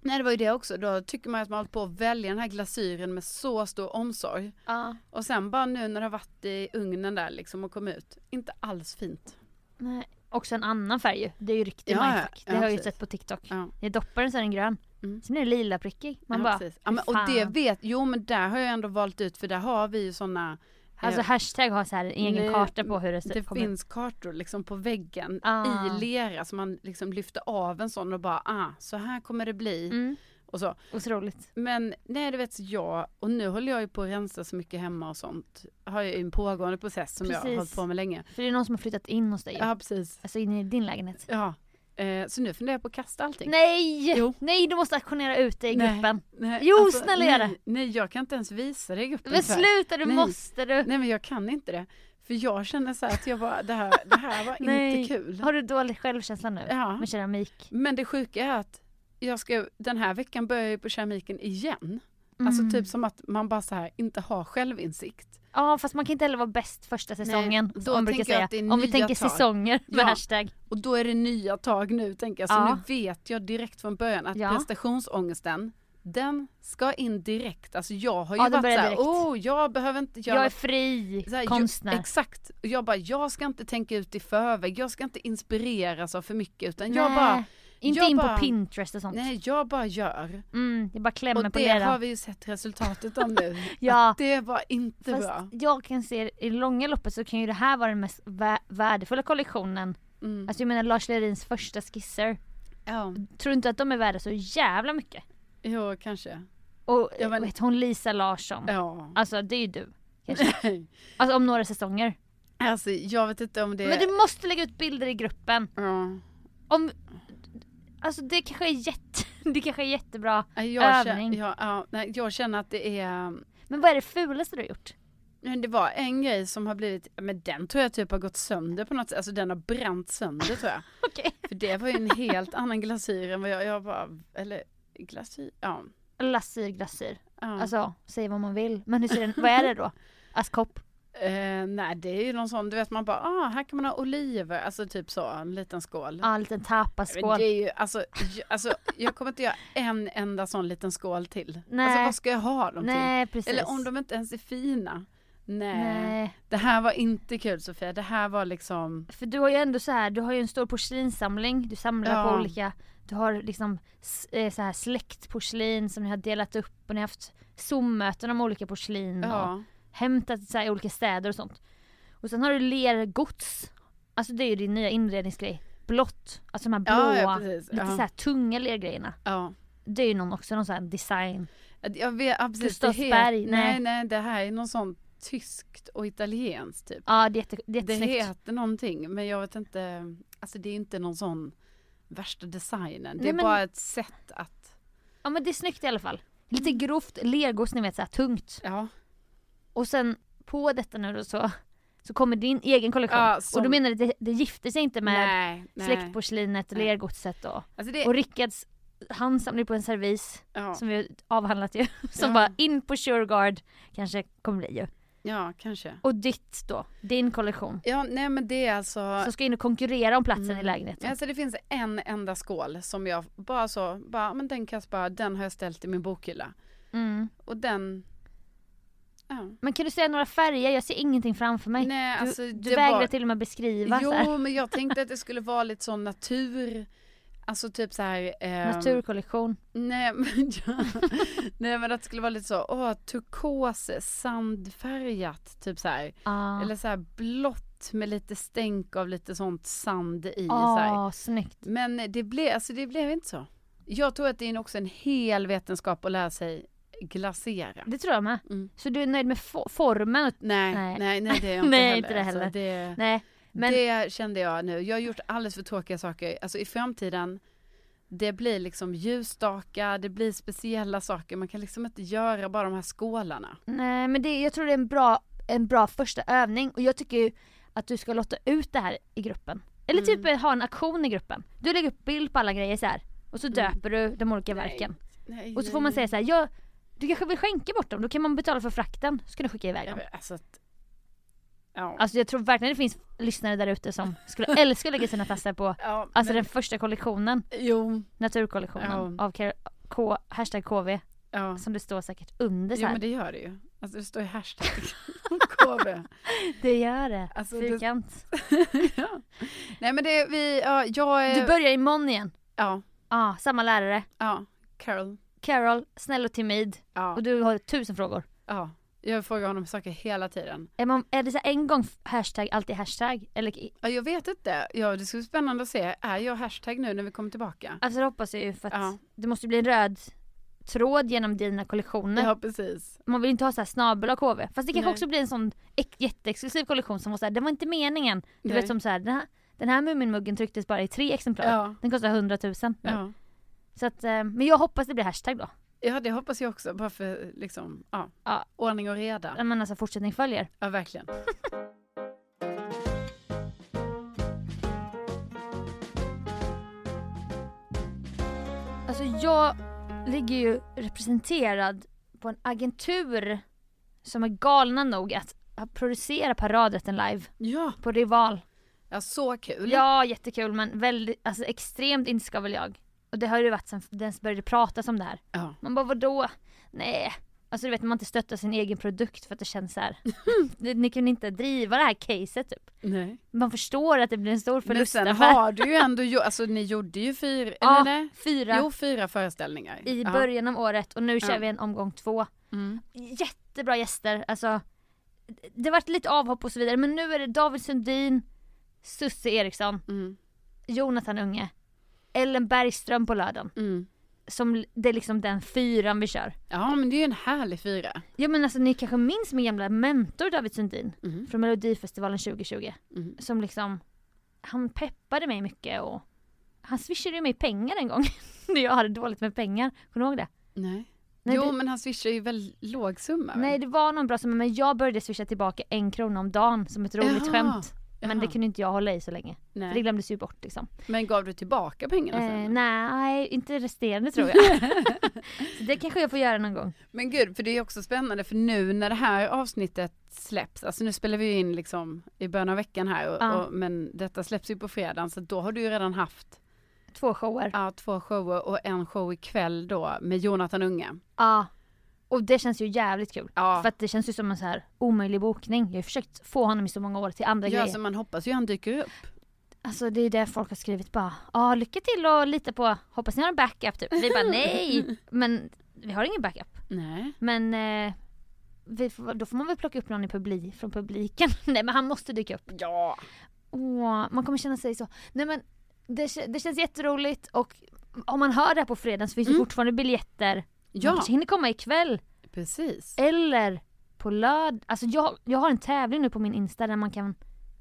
Speaker 3: Nej det var ju det också. Då tycker man att man har hållit på att välja den här glasyren med så stor omsorg.
Speaker 4: Ja.
Speaker 3: Och sen bara nu när det har varit i ugnen där liksom och kom ut. Inte alls fint.
Speaker 4: Nej. Också en annan färg ju. Det är ju riktigt
Speaker 3: Ja, ja.
Speaker 4: mindfuck. Det
Speaker 3: Ja,
Speaker 4: har jag ju
Speaker 3: precis.
Speaker 4: sett på TikTok.
Speaker 3: Ja.
Speaker 4: Jag doppar den så är den grön.
Speaker 3: Mm.
Speaker 4: Sen är den lila prickig. Man
Speaker 3: ja,
Speaker 4: bara,
Speaker 3: precis. ja,
Speaker 4: hur
Speaker 3: men, och det
Speaker 4: fan?
Speaker 3: vet, jo men där har jag ändå valt ut för där har vi ju sådana
Speaker 4: Alltså hashtag har så här en egen
Speaker 3: Nej,
Speaker 4: karta på hur det, ser-
Speaker 3: Det
Speaker 4: kommer.
Speaker 3: finns kartor liksom på väggen
Speaker 4: Ah.
Speaker 3: i lera som man liksom lyfter av en sån och bara ah, så här kommer det bli
Speaker 4: Mm.
Speaker 3: och så.
Speaker 4: Otroligt.
Speaker 3: Men nej du vet så jag och nu håller jag ju på att rensa så mycket hemma och sånt. Har ju en pågående process som jag har
Speaker 4: Precis.
Speaker 3: hållit på med länge.
Speaker 4: För det är någon som har flyttat in hos dig. ju.
Speaker 3: Ja precis.
Speaker 4: Alltså in i din lägenhet.
Speaker 3: Ja. Eh, så nu funderar jag på att kasta allting.
Speaker 4: Nej!
Speaker 3: Jo.
Speaker 4: Nej, du måste auktionera ut det i
Speaker 3: Nej.
Speaker 4: gruppen.
Speaker 3: Nej, alltså,
Speaker 4: Jo, snälla gör
Speaker 3: nej, nej jag kan inte ens visa det i gruppen.
Speaker 4: Men
Speaker 3: tyvärr.
Speaker 4: sluta, du
Speaker 3: Nej.
Speaker 4: måste du.
Speaker 3: Nej men jag kan inte det. För jag känner så här att jag bara, det här, det här var
Speaker 4: Nej.
Speaker 3: inte kul.
Speaker 4: Har du dålig självkänsla nu?
Speaker 3: Ja.
Speaker 4: Med keramik?
Speaker 3: Men det sjuka är att jag ska, den här veckan börjar jag ju på keramiken igen.
Speaker 4: Mm.
Speaker 3: Alltså typ som att man bara så här inte har självinsikt.
Speaker 4: Ja, fast man kan inte heller vara bäst första säsongen.
Speaker 3: då
Speaker 4: som man brukar
Speaker 3: tänker jag
Speaker 4: säga.
Speaker 3: att det är
Speaker 4: Om vi
Speaker 3: nya
Speaker 4: tänker
Speaker 3: tag.
Speaker 4: säsonger med
Speaker 3: Ja.
Speaker 4: hashtag.
Speaker 3: Och då är det nya tag nu tänker jag. Så
Speaker 4: Ja.
Speaker 3: nu vet jag direkt från början att
Speaker 4: Ja.
Speaker 3: prestationsångesten den ska in direkt. Alltså jag har
Speaker 4: Ja,
Speaker 3: ju
Speaker 4: den
Speaker 3: varit
Speaker 4: börjar
Speaker 3: såhär,
Speaker 4: direkt.
Speaker 3: oh jag behöver inte göra
Speaker 4: Jag är
Speaker 3: något
Speaker 4: fri
Speaker 3: Så här, ju-
Speaker 4: konstnär.
Speaker 3: exakt. Och jag bara, jag ska inte tänka ut i förväg. Jag ska inte inspireras av för mycket. Utan jag
Speaker 4: Nej,
Speaker 3: bara,
Speaker 4: inte
Speaker 3: jag
Speaker 4: in
Speaker 3: bara-
Speaker 4: på Pinterest och sånt.
Speaker 3: nej jag bara gör.
Speaker 4: Mm, jag bara klämmer
Speaker 3: Och
Speaker 4: på
Speaker 3: det har
Speaker 4: leran.
Speaker 3: vi ju sett resultatet av nu.
Speaker 4: Ja.
Speaker 3: Att det var inte
Speaker 4: Fast
Speaker 3: bra.
Speaker 4: jag kan se i långa loppet så kan ju det här vara den mest vä- värdefulla kollektionen.
Speaker 3: Mm.
Speaker 4: Alltså jag menar Lars Lerins första skisser.
Speaker 3: Ja,
Speaker 4: Tror du inte att de är värda så jävla mycket?
Speaker 3: jo kanske.
Speaker 4: Och
Speaker 3: Ja, men-
Speaker 4: vad heter hon Lisa Larsson?
Speaker 3: Ja.
Speaker 4: Alltså det är ju du. kanske. alltså om några säsonger.
Speaker 3: Alltså jag vet inte om det
Speaker 4: Men du måste lägga ut bilder i gruppen.
Speaker 3: ja.
Speaker 4: Om... Alltså det kanske är, jätte... det kanske är jättebra
Speaker 3: Nej, jag
Speaker 4: övning.
Speaker 3: känner, ja, ja, nej, jag känner att det är
Speaker 4: Men vad är det fulaste du har gjort?
Speaker 3: men det var en grej som har blivit, men den tror jag typ har gått sönder på något sätt, alltså den har bränt sönder tror jag.
Speaker 4: Okej.
Speaker 3: För det var ju en helt annan glasyr än vad jag, jag bara, eller glasyr, ja.
Speaker 4: Glasyr, glasyr.
Speaker 3: ja.
Speaker 4: Alltså säg vad man vill. Men hur ser den... vad är det då? Alltså, Askkopp?
Speaker 3: Eh, nej det är ju någon sån, du vet man bara, ah här kan man ha oliver, alltså typ så, en liten skål.
Speaker 4: Ja, en liten
Speaker 3: Men
Speaker 4: tapaskål.
Speaker 3: det är ju, alltså, jag, alltså, jag kommer inte göra en enda sån liten skål till. Alltså
Speaker 4: Nej.
Speaker 3: vad ska jag ha dem
Speaker 4: Nej precis.
Speaker 3: till? Eller om de inte ens är fina. Nej.
Speaker 4: Nej.
Speaker 3: Det här var inte kul Sofia, det här var liksom,
Speaker 4: För du har ju ändå så här, du har ju en stor porslinssamling, du samlar
Speaker 3: Ja.
Speaker 4: på olika, du har liksom s- eh, så här släktporslin som ni har delat upp och ni har haft Zoom-möten om olika porslin och
Speaker 3: ja.
Speaker 4: hämtat så här, i olika städer och sånt. Och sen har du lergods, alltså det är ju din nya inredningsgrej. Blått, alltså de här
Speaker 3: Ja,
Speaker 4: blåa,
Speaker 3: ja, precis.
Speaker 4: lite
Speaker 3: Ja.
Speaker 4: så här tunga lergrejerna.
Speaker 3: ja.
Speaker 4: Det är ju någon också, någon sån här design.
Speaker 3: Att Jag vet, ja, precis, det
Speaker 4: Gustavsberg,
Speaker 3: heter,
Speaker 4: nej.
Speaker 3: nej nej det här är någon sån tyskt och italienskt typ.
Speaker 4: Ja det är, jätte, det är
Speaker 3: Det
Speaker 4: jättesnyggt.
Speaker 3: heter någonting men jag vet inte, alltså det är inte någon sån värsta designen. Det
Speaker 4: Nej,
Speaker 3: är
Speaker 4: men-
Speaker 3: bara ett sätt att,
Speaker 4: Ja men det är snyggt i alla fall. Lite grovt lergods ni vet så här tungt.
Speaker 3: ja.
Speaker 4: Och sen på detta nu då så, så kommer din egen kollektion.
Speaker 3: Ja, som-
Speaker 4: Och du menar att det, det gifter sig inte med
Speaker 3: nej, nej.
Speaker 4: släktporslinet och
Speaker 3: Nej.
Speaker 4: lergodset och,
Speaker 3: Alltså det,
Speaker 4: och Rickards han samlar ju på en servis
Speaker 3: ja.
Speaker 4: som vi har avhandlat ju. Som
Speaker 3: Ja.
Speaker 4: bara in på Sureguard kanske kommer bli ju.
Speaker 3: ja kanske.
Speaker 4: Och ditt då, din kollektion.
Speaker 3: Ja nej men det är alltså,
Speaker 4: Som ska in och konkurrera om platsen i
Speaker 3: Ja,
Speaker 4: lägenheten.
Speaker 3: Alltså det finns en enda skål som jag bara så, bara, men den kan jag spara, den har jag ställt i min bokhylla.
Speaker 4: Mm.
Speaker 3: Och den, ja.
Speaker 4: Men kan du säga några färger? Jag ser ingenting framför mig.
Speaker 3: Nej,
Speaker 4: du
Speaker 3: alltså,
Speaker 4: du
Speaker 3: det
Speaker 4: vägrar
Speaker 3: var-
Speaker 4: till och med beskriva. så här.
Speaker 3: Jo men jag tänkte att det skulle vara lite sån natur, Alltså typ så här... ehm,
Speaker 4: Naturkollektion.
Speaker 3: Nej men, ja. nej men att det skulle vara lite så, åh turkos, sandfärgat typ så här.
Speaker 4: Ah.
Speaker 3: Eller så här blått med lite stänk av lite sånt sand i så här.
Speaker 4: ah, snyggt.
Speaker 3: Men det blev, alltså det blev inte så. Jag tror att det är också en hel vetenskap att lära sig glasera.
Speaker 4: Det tror jag med.
Speaker 3: Mm.
Speaker 4: Så du är nöjd med fo- formen? och-
Speaker 3: Nej,
Speaker 4: Nej.
Speaker 3: nej, nej, det är jag inte
Speaker 4: Nej,
Speaker 3: heller.
Speaker 4: inte det heller.
Speaker 3: Alltså, det,
Speaker 4: Nej. Men
Speaker 3: det kände jag nu. Jag har gjort alldeles för tråkiga saker. Alltså i framtiden, det blir liksom ljusstakar, det blir speciella saker. Man kan liksom inte göra bara de här skålarna.
Speaker 4: Nej men det, jag tror det är en bra, en bra första övning och jag tycker ju att du ska lotta ut det här i gruppen. Eller typ
Speaker 3: Mm.
Speaker 4: eh, ha en aktion i gruppen. Du lägger upp bild på alla grejer så här. och så döper du de olika verken.
Speaker 3: Mm. Nej,
Speaker 4: Och så får man säga så här, jag, du kanske vill skänka bort dem, då kan man betala för frakten så kan du skicka iväg
Speaker 3: Ja,
Speaker 4: dem.
Speaker 3: men alltså att, ja.
Speaker 4: Alltså jag tror verkligen det finns lyssnare där ute som skulle älska att lägga sina tassar på
Speaker 3: ja,
Speaker 4: Alltså
Speaker 3: men,
Speaker 4: den första kollektionen,
Speaker 3: Jo,
Speaker 4: naturkollektionen av K, K, hashtag KV
Speaker 3: ja.
Speaker 4: som det står säkert under så
Speaker 3: Jo
Speaker 4: här.
Speaker 3: men det gör det ju. Alltså det står ju hashtag KB.
Speaker 4: det gör det.
Speaker 3: Alltså, det-
Speaker 4: Fyrkant.
Speaker 3: ja. Nej men det, vi, ja, jag,
Speaker 4: Du
Speaker 3: eh,
Speaker 4: börjar imorgon igen.
Speaker 3: ja,
Speaker 4: Ja, samma lärare.
Speaker 3: ja, Carol.
Speaker 4: Carol, snäll och timid.
Speaker 3: Ja,
Speaker 4: Och du har tusen frågor.
Speaker 3: ja. Jag frågar honom saker hela tiden.
Speaker 4: Är, man, är det så här en gång f- hashtag, alltid hashtag? Eller, i-
Speaker 3: Ja, jag vet inte. Ja, det ska bli spännande att se. Är jag hashtag nu när vi kommer tillbaka?
Speaker 4: alltså det hoppas jag ju för att
Speaker 3: Ja.
Speaker 4: det måste ju bli en röd tråd genom dina kollektioner.
Speaker 3: Ja, precis.
Speaker 4: Man vill inte ha så här snabel av KV. Fast det kanske
Speaker 3: Nej.
Speaker 4: också blir en sån ex- jätteexklusiv kollektion som var såhär, det var inte meningen. Du
Speaker 3: Nej.
Speaker 4: vet som såhär, den här, den här Muminmuggen trycktes bara i tre exemplar.
Speaker 3: Ja.
Speaker 4: Den kostar 100 000 nu.
Speaker 3: Ja.
Speaker 4: Så att, eh, men jag hoppas det blir hashtag då.
Speaker 3: ja, det hoppas jag också. Bara för liksom, ja.
Speaker 4: Ja.
Speaker 3: Ordning och reda.
Speaker 4: Men alltså fortsättning följer.
Speaker 3: Ja, verkligen.
Speaker 4: Alltså jag ligger ju representerad på en agentur som är galna nog att att producera paradrätten live
Speaker 3: Ja,
Speaker 4: på Rival.
Speaker 3: ja så kul.
Speaker 4: Ja, jättekul men väldigt, alltså extremt inskavel jag. Och det har ju varit sen det ens började prata om det här.
Speaker 3: Ja.
Speaker 4: Man bara vadå? Nej. Alltså du vet man inte stöttar sin egen produkt för att det känns så här. ni, ni kan inte driva det här caset typ.
Speaker 3: Nej.
Speaker 4: Man förstår att det blir en stor
Speaker 3: Men sen
Speaker 4: förlustaffär.
Speaker 3: har du ju ändå, gjort- alltså ni gjorde ju fyra,
Speaker 4: Ja,
Speaker 3: eller nej?
Speaker 4: fyra.
Speaker 3: Jo, fyra föreställningar.
Speaker 4: i
Speaker 3: Ja.
Speaker 4: början av året och nu kör
Speaker 3: Ja. Mm.
Speaker 4: vi en omgång två. Jättebra gäster, alltså det varit lite avhopp och så vidare men nu är det David Sundin, Susse Eriksson,
Speaker 3: Mm.
Speaker 4: Jonathan Unge, Ellen Bergström på lördagen.
Speaker 3: Mm.
Speaker 4: Som, det är liksom den fyran vi kör.
Speaker 3: Ja, men det är ju en härlig fyra.
Speaker 4: Ja men alltså ni kanske minns min gamla mentor David Sundin
Speaker 3: Mm.
Speaker 4: från Melodifestivalen 2020. Som liksom, han peppade mig mycket och han swishade ju mig pengar en gång när jag hade dåligt med pengar. Kommer du ihåg det?
Speaker 3: Nej.
Speaker 4: Nej,
Speaker 3: jo,
Speaker 4: det-
Speaker 3: men han swishar ju väldigt låg summa. väl?
Speaker 4: Nej det var någon bra summa men jag började swisha tillbaka en krona om dagen som ett roligt
Speaker 3: Jaha,
Speaker 4: skämt. Men det
Speaker 3: jaha.
Speaker 4: kunde inte jag hålla i så länge. För det
Speaker 3: Nej.
Speaker 4: glömdes ju bort liksom.
Speaker 3: Men gav du tillbaka pengarna sen?
Speaker 4: Eh, nej, inte resterande tror jag. så det kanske jag får göra någon gång.
Speaker 3: Men gud, för det är också spännande för nu när det här avsnittet släpps, alltså nu spelar vi ju in liksom i början av veckan här, och,
Speaker 4: Ja.
Speaker 3: och, men detta släpps ju på fredagen så då har du ju redan haft
Speaker 4: Två shower. Ja.
Speaker 3: ja, två shower och en show ikväll då med Jonathan Unge.
Speaker 4: Och det känns ju jävligt kul.
Speaker 3: Ja.
Speaker 4: För att det känns ju som en så här omöjlig bokning. Jag har ju försökt få honom i så många år till andra
Speaker 3: Ja,
Speaker 4: grejer.
Speaker 3: så man hoppas ju han dyker upp.
Speaker 4: Alltså det är ju det folk har skrivit bara, ja lycka till och lita på, hoppas ni har en backup typ. Vi bara nej! Men vi har ingen backup.
Speaker 3: Nej.
Speaker 4: Men eh, vi får, då får man väl plocka upp någon i publi, från publiken. Nej men han måste dyka upp.
Speaker 3: Ja.
Speaker 4: Åh, man kommer känna sig så. Nej men det, kä- det känns jätteroligt och om man hör det här på fredag så finns det fortfarande biljetter. Man
Speaker 3: Ja,
Speaker 4: kanske hinner komma ikväll
Speaker 3: precis.
Speaker 4: eller på lördag. Alltså jag, jag har en tävling nu på min Insta där man kan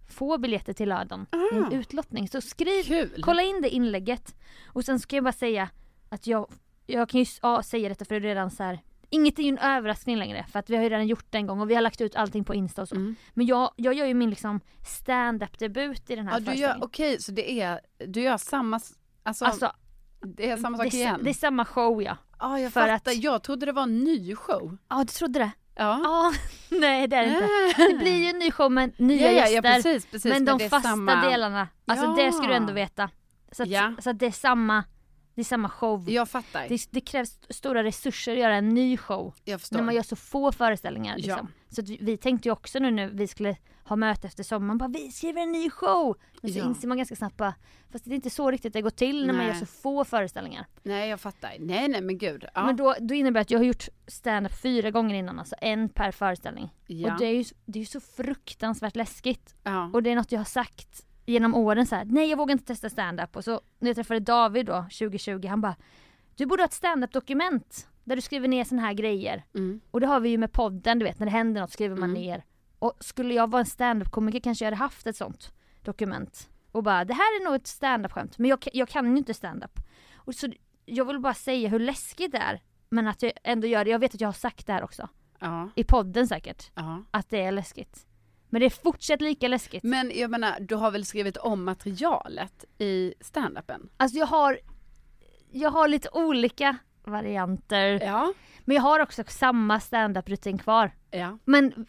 Speaker 4: få biljetter till lördagen. En utlottning. Så skriv,
Speaker 3: Ah. Kul.
Speaker 4: kolla in det inlägget. Och sen ska jag bara säga att jag, jag kan ju s- ja, säga detta för det är redan så här. Inget är ju en överraskning längre för att vi har ju redan gjort det en gång och vi har lagt ut allting på Insta och så.
Speaker 3: Mm.
Speaker 4: Men jag, jag gör ju min liksom stand-up debut i den här
Speaker 3: Ja, du gör,
Speaker 4: föreställningen.
Speaker 3: okej, så det är, du gör samma, s- alltså,
Speaker 4: Alltså,
Speaker 3: det är samma
Speaker 4: det,
Speaker 3: sak
Speaker 4: är sa-
Speaker 3: igen?
Speaker 4: det är samma show ja.
Speaker 3: Ja, jag
Speaker 4: för
Speaker 3: fattar.
Speaker 4: att-
Speaker 3: Jag trodde det var en ny show.
Speaker 4: Ja du trodde det?
Speaker 3: Ja.
Speaker 4: Ja, nej det är det inte. Det blir ju en ny show med nya
Speaker 3: Ja, ja, ja,
Speaker 4: gäster.
Speaker 3: precis, precis,
Speaker 4: men
Speaker 3: men
Speaker 4: de
Speaker 3: det är
Speaker 4: fasta
Speaker 3: samma-
Speaker 4: delarna, alltså
Speaker 3: Ja.
Speaker 4: det ska du ändå veta. Så att,
Speaker 3: Ja.
Speaker 4: så att det är samma, det är samma show.
Speaker 3: Jag fattar.
Speaker 4: Det, det krävs st- stora resurser att göra en ny show.
Speaker 3: Jag förstår.
Speaker 4: När man gör så få föreställningar liksom. Så att vi, vi tänkte ju också nu när vi skulle ha möte efter sommaren, bara vi skriver en ny show! Men så
Speaker 3: Ja.
Speaker 4: inser man ganska snabbt bara, fast det är inte så riktigt det går till när man
Speaker 3: Nej.
Speaker 4: gör så få föreställningar.
Speaker 3: Nej, jag fattar. Nej, nej, men gud. Ja.
Speaker 4: Men då, då innebär det att jag har gjort stand-up fyra gånger innan, alltså en per föreställning.
Speaker 3: Ja.
Speaker 4: Och det är, ju, det är ju så fruktansvärt läskigt.
Speaker 3: ja.
Speaker 4: Och det är något jag har sagt genom åren så här: nej jag vågar inte testa stand-up. Och så när jag träffade David då, 2020, han bara, du borde ha ett stand-up dokument där du skriver ner såna här grejer.
Speaker 3: Mm.
Speaker 4: Och det har vi ju med podden, du vet när det händer något skriver man ner. Och skulle jag vara en stand-up komiker kanske jag hade haft ett sånt dokument. Och bara, det här är nog ett stand-up skämt, men jag, ka- jag kan ju inte stand-up. Och så jag vill bara säga hur läskigt det är. Men att jag ändå gör det, jag vet att jag har sagt det här också.
Speaker 3: ja.
Speaker 4: I podden säkert.
Speaker 3: ja.
Speaker 4: Att det är läskigt. Men det är fortsatt lika läskigt.
Speaker 3: Men jag menar, du har väl skrivit om materialet i standupen?
Speaker 4: Alltså jag har Jag har lite olika varianter
Speaker 3: Ja.
Speaker 4: Men jag har också samma stand-up rutin kvar
Speaker 3: ja.
Speaker 4: Men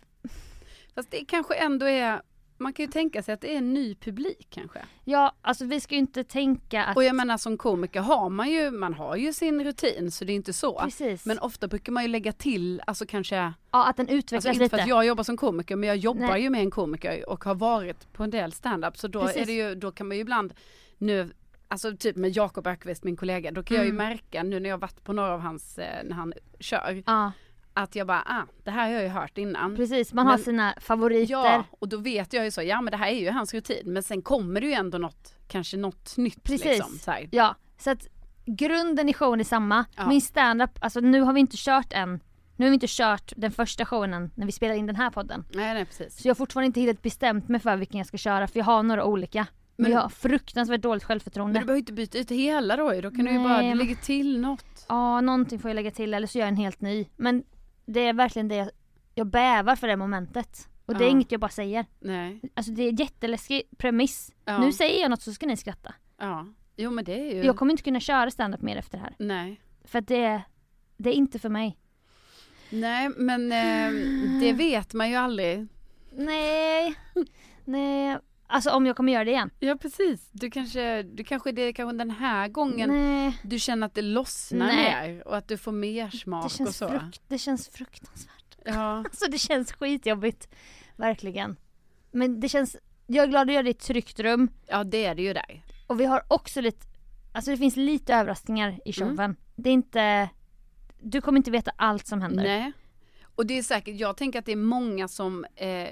Speaker 3: Fast det kanske ändå är, man kan ju tänka sig att det är en ny publik kanske.
Speaker 4: ja, alltså vi ska ju inte tänka att
Speaker 3: Och jag menar som komiker har man ju, man har ju sin rutin så det är inte så.
Speaker 4: Precis.
Speaker 3: Men ofta brukar man ju lägga till, alltså kanske,
Speaker 4: Ja att den utvecklas
Speaker 3: alltså inte för
Speaker 4: lite
Speaker 3: att jag jobbar som komiker men jag jobbar
Speaker 4: Nej.
Speaker 3: ju med en komiker och har varit på en del standup så då
Speaker 4: Precis.
Speaker 3: är det ju, då kan man ju ibland nu Alltså typ med Jakob Ökvist, min kollega, då kan jag ju
Speaker 4: Mm.
Speaker 3: märka nu när jag har varit på några av hans, eh, när han kör,
Speaker 4: Ja
Speaker 3: att jag bara, ah, det här har jag ju hört innan.
Speaker 4: precis, man har
Speaker 3: Men-
Speaker 4: sina favoriter
Speaker 3: Ja, och då vet jag ju så, ja men det här är ju hans rutin, men sen kommer det ju ändå något, kanske något nytt
Speaker 4: Precis,
Speaker 3: liksom. Så här.
Speaker 4: ja så att Grunden i showen är samma,
Speaker 3: Ja.
Speaker 4: min stand-up, alltså nu har vi inte kört än Nu har vi inte kört den första showen än, när vi spelar in den här podden
Speaker 3: Nej, nej precis.
Speaker 4: Så jag har fortfarande inte helt bestämt mig för vilken jag ska köra för jag har några olika Men,
Speaker 3: Men-
Speaker 4: jag har fruktansvärt dåligt självförtroende
Speaker 3: Men du behöver ju inte byta ut hela då ju, då kan du ju
Speaker 4: Nej,
Speaker 3: bara, det
Speaker 4: men-
Speaker 3: lägger till något.
Speaker 4: Ja, någonting får jag lägga till eller så gör jag en helt ny. Men det är verkligen det jag, jag bävar för det momentet. Och det är
Speaker 3: Ja.
Speaker 4: inget jag bara säger.
Speaker 3: Nej,
Speaker 4: Alltså det är en jätteläskig premiss.
Speaker 3: Ja.
Speaker 4: Nu säger jag något så ska ni skratta.
Speaker 3: ja. Jo men det är ju,
Speaker 4: Jag kommer inte kunna köra stand-up mer efter det här.
Speaker 3: nej.
Speaker 4: För att det, det är inte för mig.
Speaker 3: Nej men eh,
Speaker 4: ehm,
Speaker 3: det vet man ju aldrig.
Speaker 4: Nej. Nej. Alltså om jag kommer göra det igen.
Speaker 3: Ja precis, du kanske, du kanske det är kanske den här gången
Speaker 4: Nej.
Speaker 3: du känner att det lossnar
Speaker 4: Nej.
Speaker 3: mer och att du får mer smak
Speaker 4: Det
Speaker 3: och
Speaker 4: känns,
Speaker 3: så.
Speaker 4: frukt, det känns fruktansvärt.
Speaker 3: Ja,
Speaker 4: Alltså det känns skitjobbigt. Verkligen. Men det känns, jag är glad att göra det i ett tryggt rum.
Speaker 3: ja det är det ju där.
Speaker 4: Och vi har också lite, alltså det finns lite överraskningar i
Speaker 3: Mm.
Speaker 4: showen. Det är inte, du kommer inte veta allt som händer.
Speaker 3: Nej. Och det är säkert, jag tänker att det är många som, eh,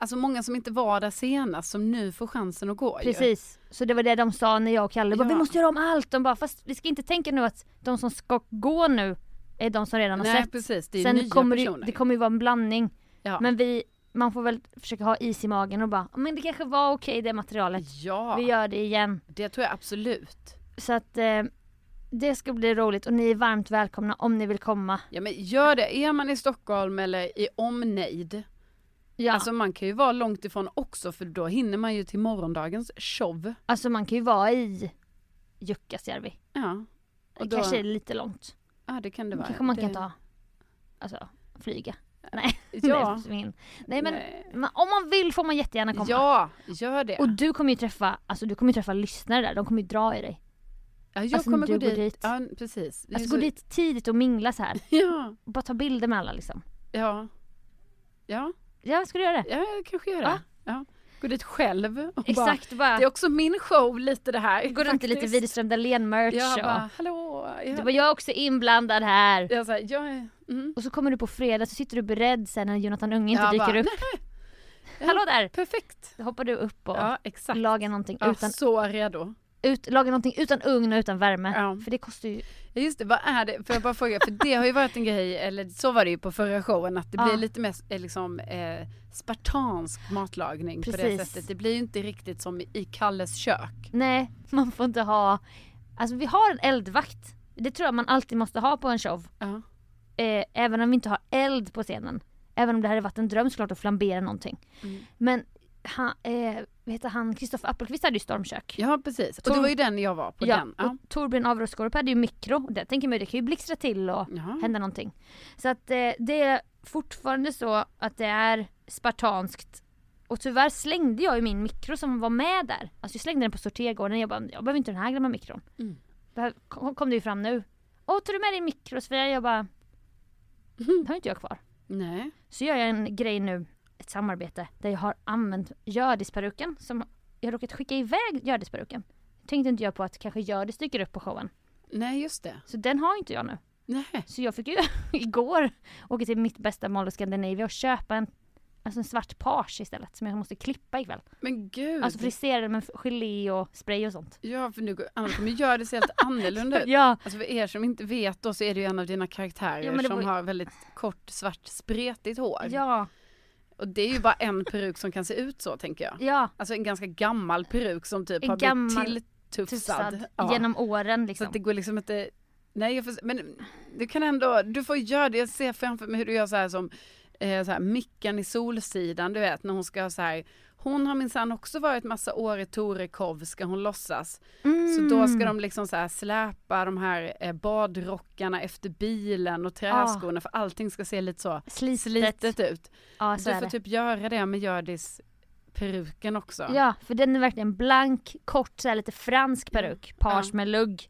Speaker 3: alltså många som inte var där senast som nu får chansen att gå ju.
Speaker 4: Precis, så det var det de sa när jag och Kalle bara,
Speaker 3: Ja.
Speaker 4: vi måste göra om allt. De bara, fast vi ska inte tänka nu att de som ska gå nu är de som redan har
Speaker 3: Nej
Speaker 4: sett.
Speaker 3: precis, det är
Speaker 4: Sen
Speaker 3: nya
Speaker 4: kommer
Speaker 3: personer.
Speaker 4: det, det kommer ju vara en blandning.
Speaker 3: ja.
Speaker 4: Men vi, man får väl försöka ha is i magen och bara, men det kanske var okej det materialet.
Speaker 3: ja,
Speaker 4: Vi gör det igen.
Speaker 3: det tror jag absolut.
Speaker 4: Så att eh, det ska bli roligt och ni är varmt välkomna om ni vill komma.
Speaker 3: Ja men gör det, är man i Stockholm eller i omnejd.
Speaker 4: Ja.
Speaker 3: Alltså man kan ju vara långt ifrån också för då hinner man ju till morgondagens show.
Speaker 4: Alltså man kan ju vara i Jukkasjärvi.
Speaker 3: Ja,
Speaker 4: Det
Speaker 3: Och då-
Speaker 4: kanske är lite långt.
Speaker 3: ja det kan det
Speaker 4: Men
Speaker 3: vara.
Speaker 4: kanske man
Speaker 3: det...
Speaker 4: kan ta, alltså flyga. Nej, det
Speaker 3: Ja.
Speaker 4: finns ingen- Nej men
Speaker 3: Nej.
Speaker 4: man- om man vill får man jättegärna komma.
Speaker 3: Ja, gör det.
Speaker 4: Och du kommer ju träffa, alltså du kommer ju träffa lyssnare där, de kommer ju dra i dig.
Speaker 3: ja, jag
Speaker 4: alltså,
Speaker 3: kommer
Speaker 4: du
Speaker 3: gå
Speaker 4: går
Speaker 3: dit.
Speaker 4: dit.
Speaker 3: Ja, precis. Det är
Speaker 4: Alltså
Speaker 3: så-
Speaker 4: gå dit tidigt och mingla så här.
Speaker 3: Ja,
Speaker 4: Och bara ta bilder med alla liksom.
Speaker 3: ja. Ja,
Speaker 4: Ja, ska du göra det?
Speaker 3: ja jag kanske gör det.
Speaker 4: Ja.
Speaker 3: Ja. Gå dit själv och bara
Speaker 4: Exakt, bara,
Speaker 3: Det är också min show lite det här.
Speaker 4: gå runt i lite
Speaker 3: faktiskt.
Speaker 4: Widerström Dahlén-merch
Speaker 3: Jag
Speaker 4: och...
Speaker 3: bara, hallå.
Speaker 4: Du
Speaker 3: Jag,
Speaker 4: bara, jag är också inblandad här.
Speaker 3: jag, så här, jag är, mm.
Speaker 4: Och så kommer du på fredag så sitter du beredd sen när Jonathan Unge inte
Speaker 3: Jag
Speaker 4: dyker
Speaker 3: bara,
Speaker 4: upp.
Speaker 3: Nej,
Speaker 4: Hallå där!
Speaker 3: perfekt.
Speaker 4: Då hoppar du upp och
Speaker 3: Ja, exakt.
Speaker 4: lagar någonting
Speaker 3: Ja,
Speaker 4: utan
Speaker 3: så redo.
Speaker 4: ut, laga någonting utan ugn och utan värme.
Speaker 3: Ja.
Speaker 4: För det kostar ju...
Speaker 3: Ja, just det, vad är det? Får jag bara fråga, för det har ju varit en grej, eller så var det ju på förra showen, att det
Speaker 4: Ja.
Speaker 3: blir lite mer eh, liksom, eh, spartansk matlagning på det
Speaker 4: Precis.
Speaker 3: sättet. Det blir ju inte riktigt som i Kalles kök.
Speaker 4: Nej, man får inte ha... Alltså vi har en eldvakt. Det tror jag man alltid måste ha på en show.
Speaker 3: Ja,
Speaker 4: Eh, även om vi inte har eld på scenen. Även om det hade varit en dröm såklart att flambera någonting. Men han, eh, vad heter han, Kristoffer Appelqvist hade ju stormkök.
Speaker 3: ja precis. Och det var ju den jag var på.
Speaker 4: Ja,
Speaker 3: den. Ja.
Speaker 4: och Torbjörn Averåskorp hade ju mikro. Och där tänker man ju det kan ju blixtra till och
Speaker 3: Jaha.
Speaker 4: hända någonting. Så att eh, det är fortfarande så att det är spartanskt. Och tyvärr slängde jag ju min mikro som var med där. Alltså jag slängde den på sortergården. Jag bara, jag behöver inte den här gamla mikron.
Speaker 3: Mm.
Speaker 4: Behöv, kom, kom det ju fram nu. Åh, tar du med din mikro Sofia? Jag bara, det har ju inte jag kvar.
Speaker 3: Nej.
Speaker 4: Så gör jag en grej nu, ett samarbete, där jag har använt Hjördisperuken som jag har råkat skicka iväg Hjördisperuken. Tänkte inte jag på att kanske Hjördis dyker upp på showen.
Speaker 3: Nej, just det.
Speaker 4: Så den har inte jag nu.
Speaker 3: Nej.
Speaker 4: Så jag fick ju igår åka till mitt bästa mall i Scandinavia och köpa en, alltså en svart page istället som jag måste klippa ikväll.
Speaker 3: Men gud.
Speaker 4: Alltså frisera den med gelé och spray och sånt.
Speaker 3: Ja, för nu går- annars kommer gör det sig helt annorlunda ut.
Speaker 4: Ja,
Speaker 3: Alltså för er som inte vet då så är det ju en av dina karaktärer
Speaker 4: Ja, men det
Speaker 3: som
Speaker 4: var ju-
Speaker 3: har väldigt kort, svart, spretigt hår.
Speaker 4: ja,
Speaker 3: Och det är ju bara en peruk som kan se ut så tänker jag.
Speaker 4: ja.
Speaker 3: Alltså en ganska gammal peruk som typ
Speaker 4: En
Speaker 3: har
Speaker 4: gammal
Speaker 3: blivit tilltufsad.
Speaker 4: Tussad
Speaker 3: Ja.
Speaker 4: Typ genom åren
Speaker 3: Så
Speaker 4: liksom.
Speaker 3: att det går liksom inte, nej jag får, men du kan ändå, du får göra det, jag ser framför mig hur du gör så här som eh, så här, Mickan i Solsidan, du vet när hon ska ha så här hon har minsann också varit massa år i Torekov ska hon låtsas. Så då ska
Speaker 4: Mm.
Speaker 3: de liksom så här släpa de här eh, badrockarna efter bilen och träskorna för allting ska se lite så
Speaker 4: Ah. Slitet.
Speaker 3: slitet ut.
Speaker 4: Ja, så
Speaker 3: Du
Speaker 4: är
Speaker 3: får
Speaker 4: det.
Speaker 3: typ göra det med Hjördis peruken också.
Speaker 4: Ja, för den är verkligen blank, kort, så här lite fransk peruk. Page
Speaker 3: Mm. Ja.
Speaker 4: med lugg.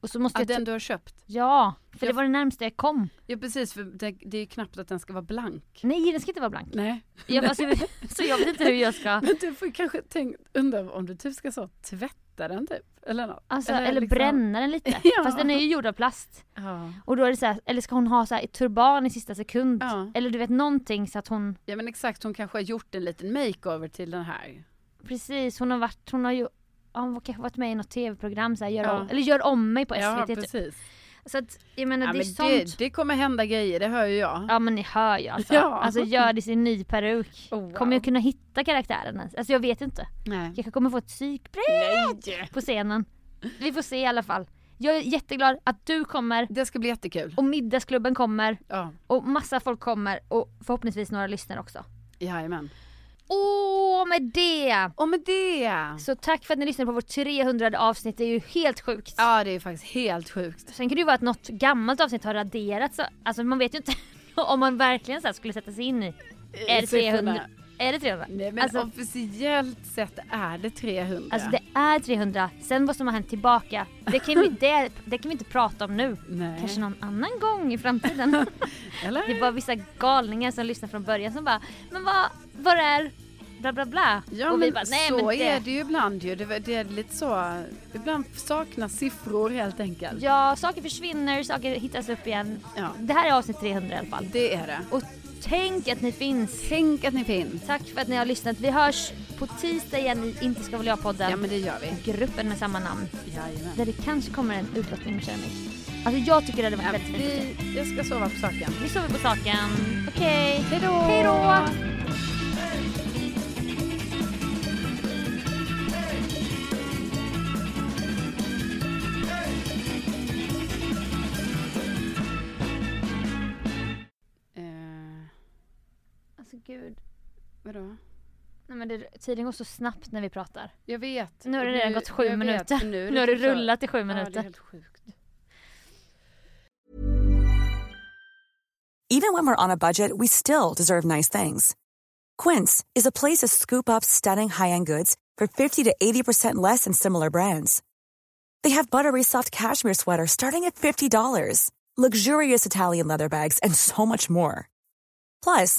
Speaker 4: Och så måste
Speaker 3: Ja,
Speaker 4: jag...
Speaker 3: den
Speaker 4: Den...
Speaker 3: du har köpt.
Speaker 4: Ja, för
Speaker 3: Jag-
Speaker 4: det var det närmaste jag kom.
Speaker 3: Ja precis, för det, det är ju knappt att den ska vara blank.
Speaker 4: Nej, den ska inte vara blank.
Speaker 3: Nej.
Speaker 4: Jag, alltså, så jag vet inte hur jag ska...
Speaker 3: Men du får ju kanske tänka, undra om du typ ska så tvätta den typ, eller något.
Speaker 4: Alltså, eller, bränna den lite.
Speaker 3: Ja.
Speaker 4: Fast den är ju gjord av plast.
Speaker 3: Ja.
Speaker 4: Och då är det så här, eller ska hon ha så här ett turban i sista sekund?
Speaker 3: Ja.
Speaker 4: Eller du vet någonting så att hon,
Speaker 3: ja men exakt, hon kanske har gjort en liten makeover till den här.
Speaker 4: precis hon har varit, hon har ju, ja, hon har kanske varit med i något tv-program så här, gör
Speaker 3: Ja.
Speaker 4: om, eller gör om mig på SVT.
Speaker 3: ja
Speaker 4: typ.
Speaker 3: precis.
Speaker 4: Så att jag menar
Speaker 3: Ja,
Speaker 4: det är
Speaker 3: men
Speaker 4: sånt.
Speaker 3: det, det kommer hända grejer, det hör ju jag.
Speaker 4: Ja men ni hör ju alltså.
Speaker 3: Ja.
Speaker 4: Alltså gör det i sin ny peruk.
Speaker 3: Oh, wow.
Speaker 4: Kommer jag kunna hitta karaktären ens? Alltså jag vet inte.
Speaker 3: Nej.
Speaker 4: Jag kanske kommer få ett psykbryt
Speaker 3: Nej.
Speaker 4: på scenen. Vi får se i alla fall. Jag är jätteglad att du kommer
Speaker 3: Det ska bli jättekul.
Speaker 4: och middagsklubben kommer
Speaker 3: Ja,
Speaker 4: och massa folk kommer och förhoppningsvis några lyssnare också.
Speaker 3: jajamän.
Speaker 4: Åh med det!
Speaker 3: Och med det!
Speaker 4: Så tack för att ni lyssnade på vårt 300 avsnitt, det är ju helt sjukt.
Speaker 3: Ja det är ju faktiskt helt sjukt.
Speaker 4: Sen kan det ju vara att något gammalt avsnitt har raderats, alltså man vet ju inte om man verkligen så här skulle sätta sig in i.
Speaker 3: Eh,
Speaker 4: Är det
Speaker 3: Siffrorna.
Speaker 4: 300? Är det 300?
Speaker 3: Nej men
Speaker 4: alltså,
Speaker 3: officiellt sett är det 300.
Speaker 4: alltså det är 300, sen vad som har hänt tillbaka, det kan vi, det, det kan vi inte prata om nu.
Speaker 3: Nej.
Speaker 4: Kanske någon annan gång i framtiden.
Speaker 3: Eller?
Speaker 4: det är bara vissa galningar som lyssnar från början som bara, men vad, var är bla bla bla?
Speaker 3: Ja
Speaker 4: Och
Speaker 3: men
Speaker 4: vi bara, nej
Speaker 3: så
Speaker 4: men det.
Speaker 3: är det ju ibland ju. Det, det är lite så, ibland saknas siffror helt enkelt.
Speaker 4: Ja, saker försvinner, saker hittas upp igen.
Speaker 3: Ja.
Speaker 4: Det här är avsnitt 300 i alla fall.
Speaker 3: Det är det.
Speaker 4: Och tänk att ni finns.
Speaker 3: Tänk att ni finns.
Speaker 4: Tack för att ni har lyssnat. Vi hörs på tisdag igen i Inte ska väl jag-podden.
Speaker 3: Ja men det gör vi.
Speaker 4: Gruppen med samma namn.
Speaker 3: Jajamän.
Speaker 4: Där det kanske kommer en utlottning med keramik. Alltså jag tycker det hade varit
Speaker 3: Ja,
Speaker 4: väldigt fint.
Speaker 3: vi, jag ska sova på saken.
Speaker 4: Nu sover vi på saken. Okej.
Speaker 3: Hejdå!
Speaker 4: Hej då!
Speaker 3: Eh,
Speaker 4: Alltså gud.
Speaker 3: vadå?
Speaker 4: Nej men det, tiden går så snabbt när vi pratar.
Speaker 3: Jag vet.
Speaker 4: Nu har det redan gått sju
Speaker 3: jag vet.
Speaker 4: minuter.
Speaker 3: är
Speaker 4: Nu har det
Speaker 3: typ så-
Speaker 4: rullat i sju
Speaker 3: Ja, det är
Speaker 4: minuter.
Speaker 3: helt sjukt.
Speaker 6: Even when we're on a budget, we still deserve nice things. Quince is a place to scoop up stunning high-end goods for 50 to 80% less than similar brands. They have buttery soft cashmere sweaters starting at $50, luxurious Italian leather bags, and so much more. Plus,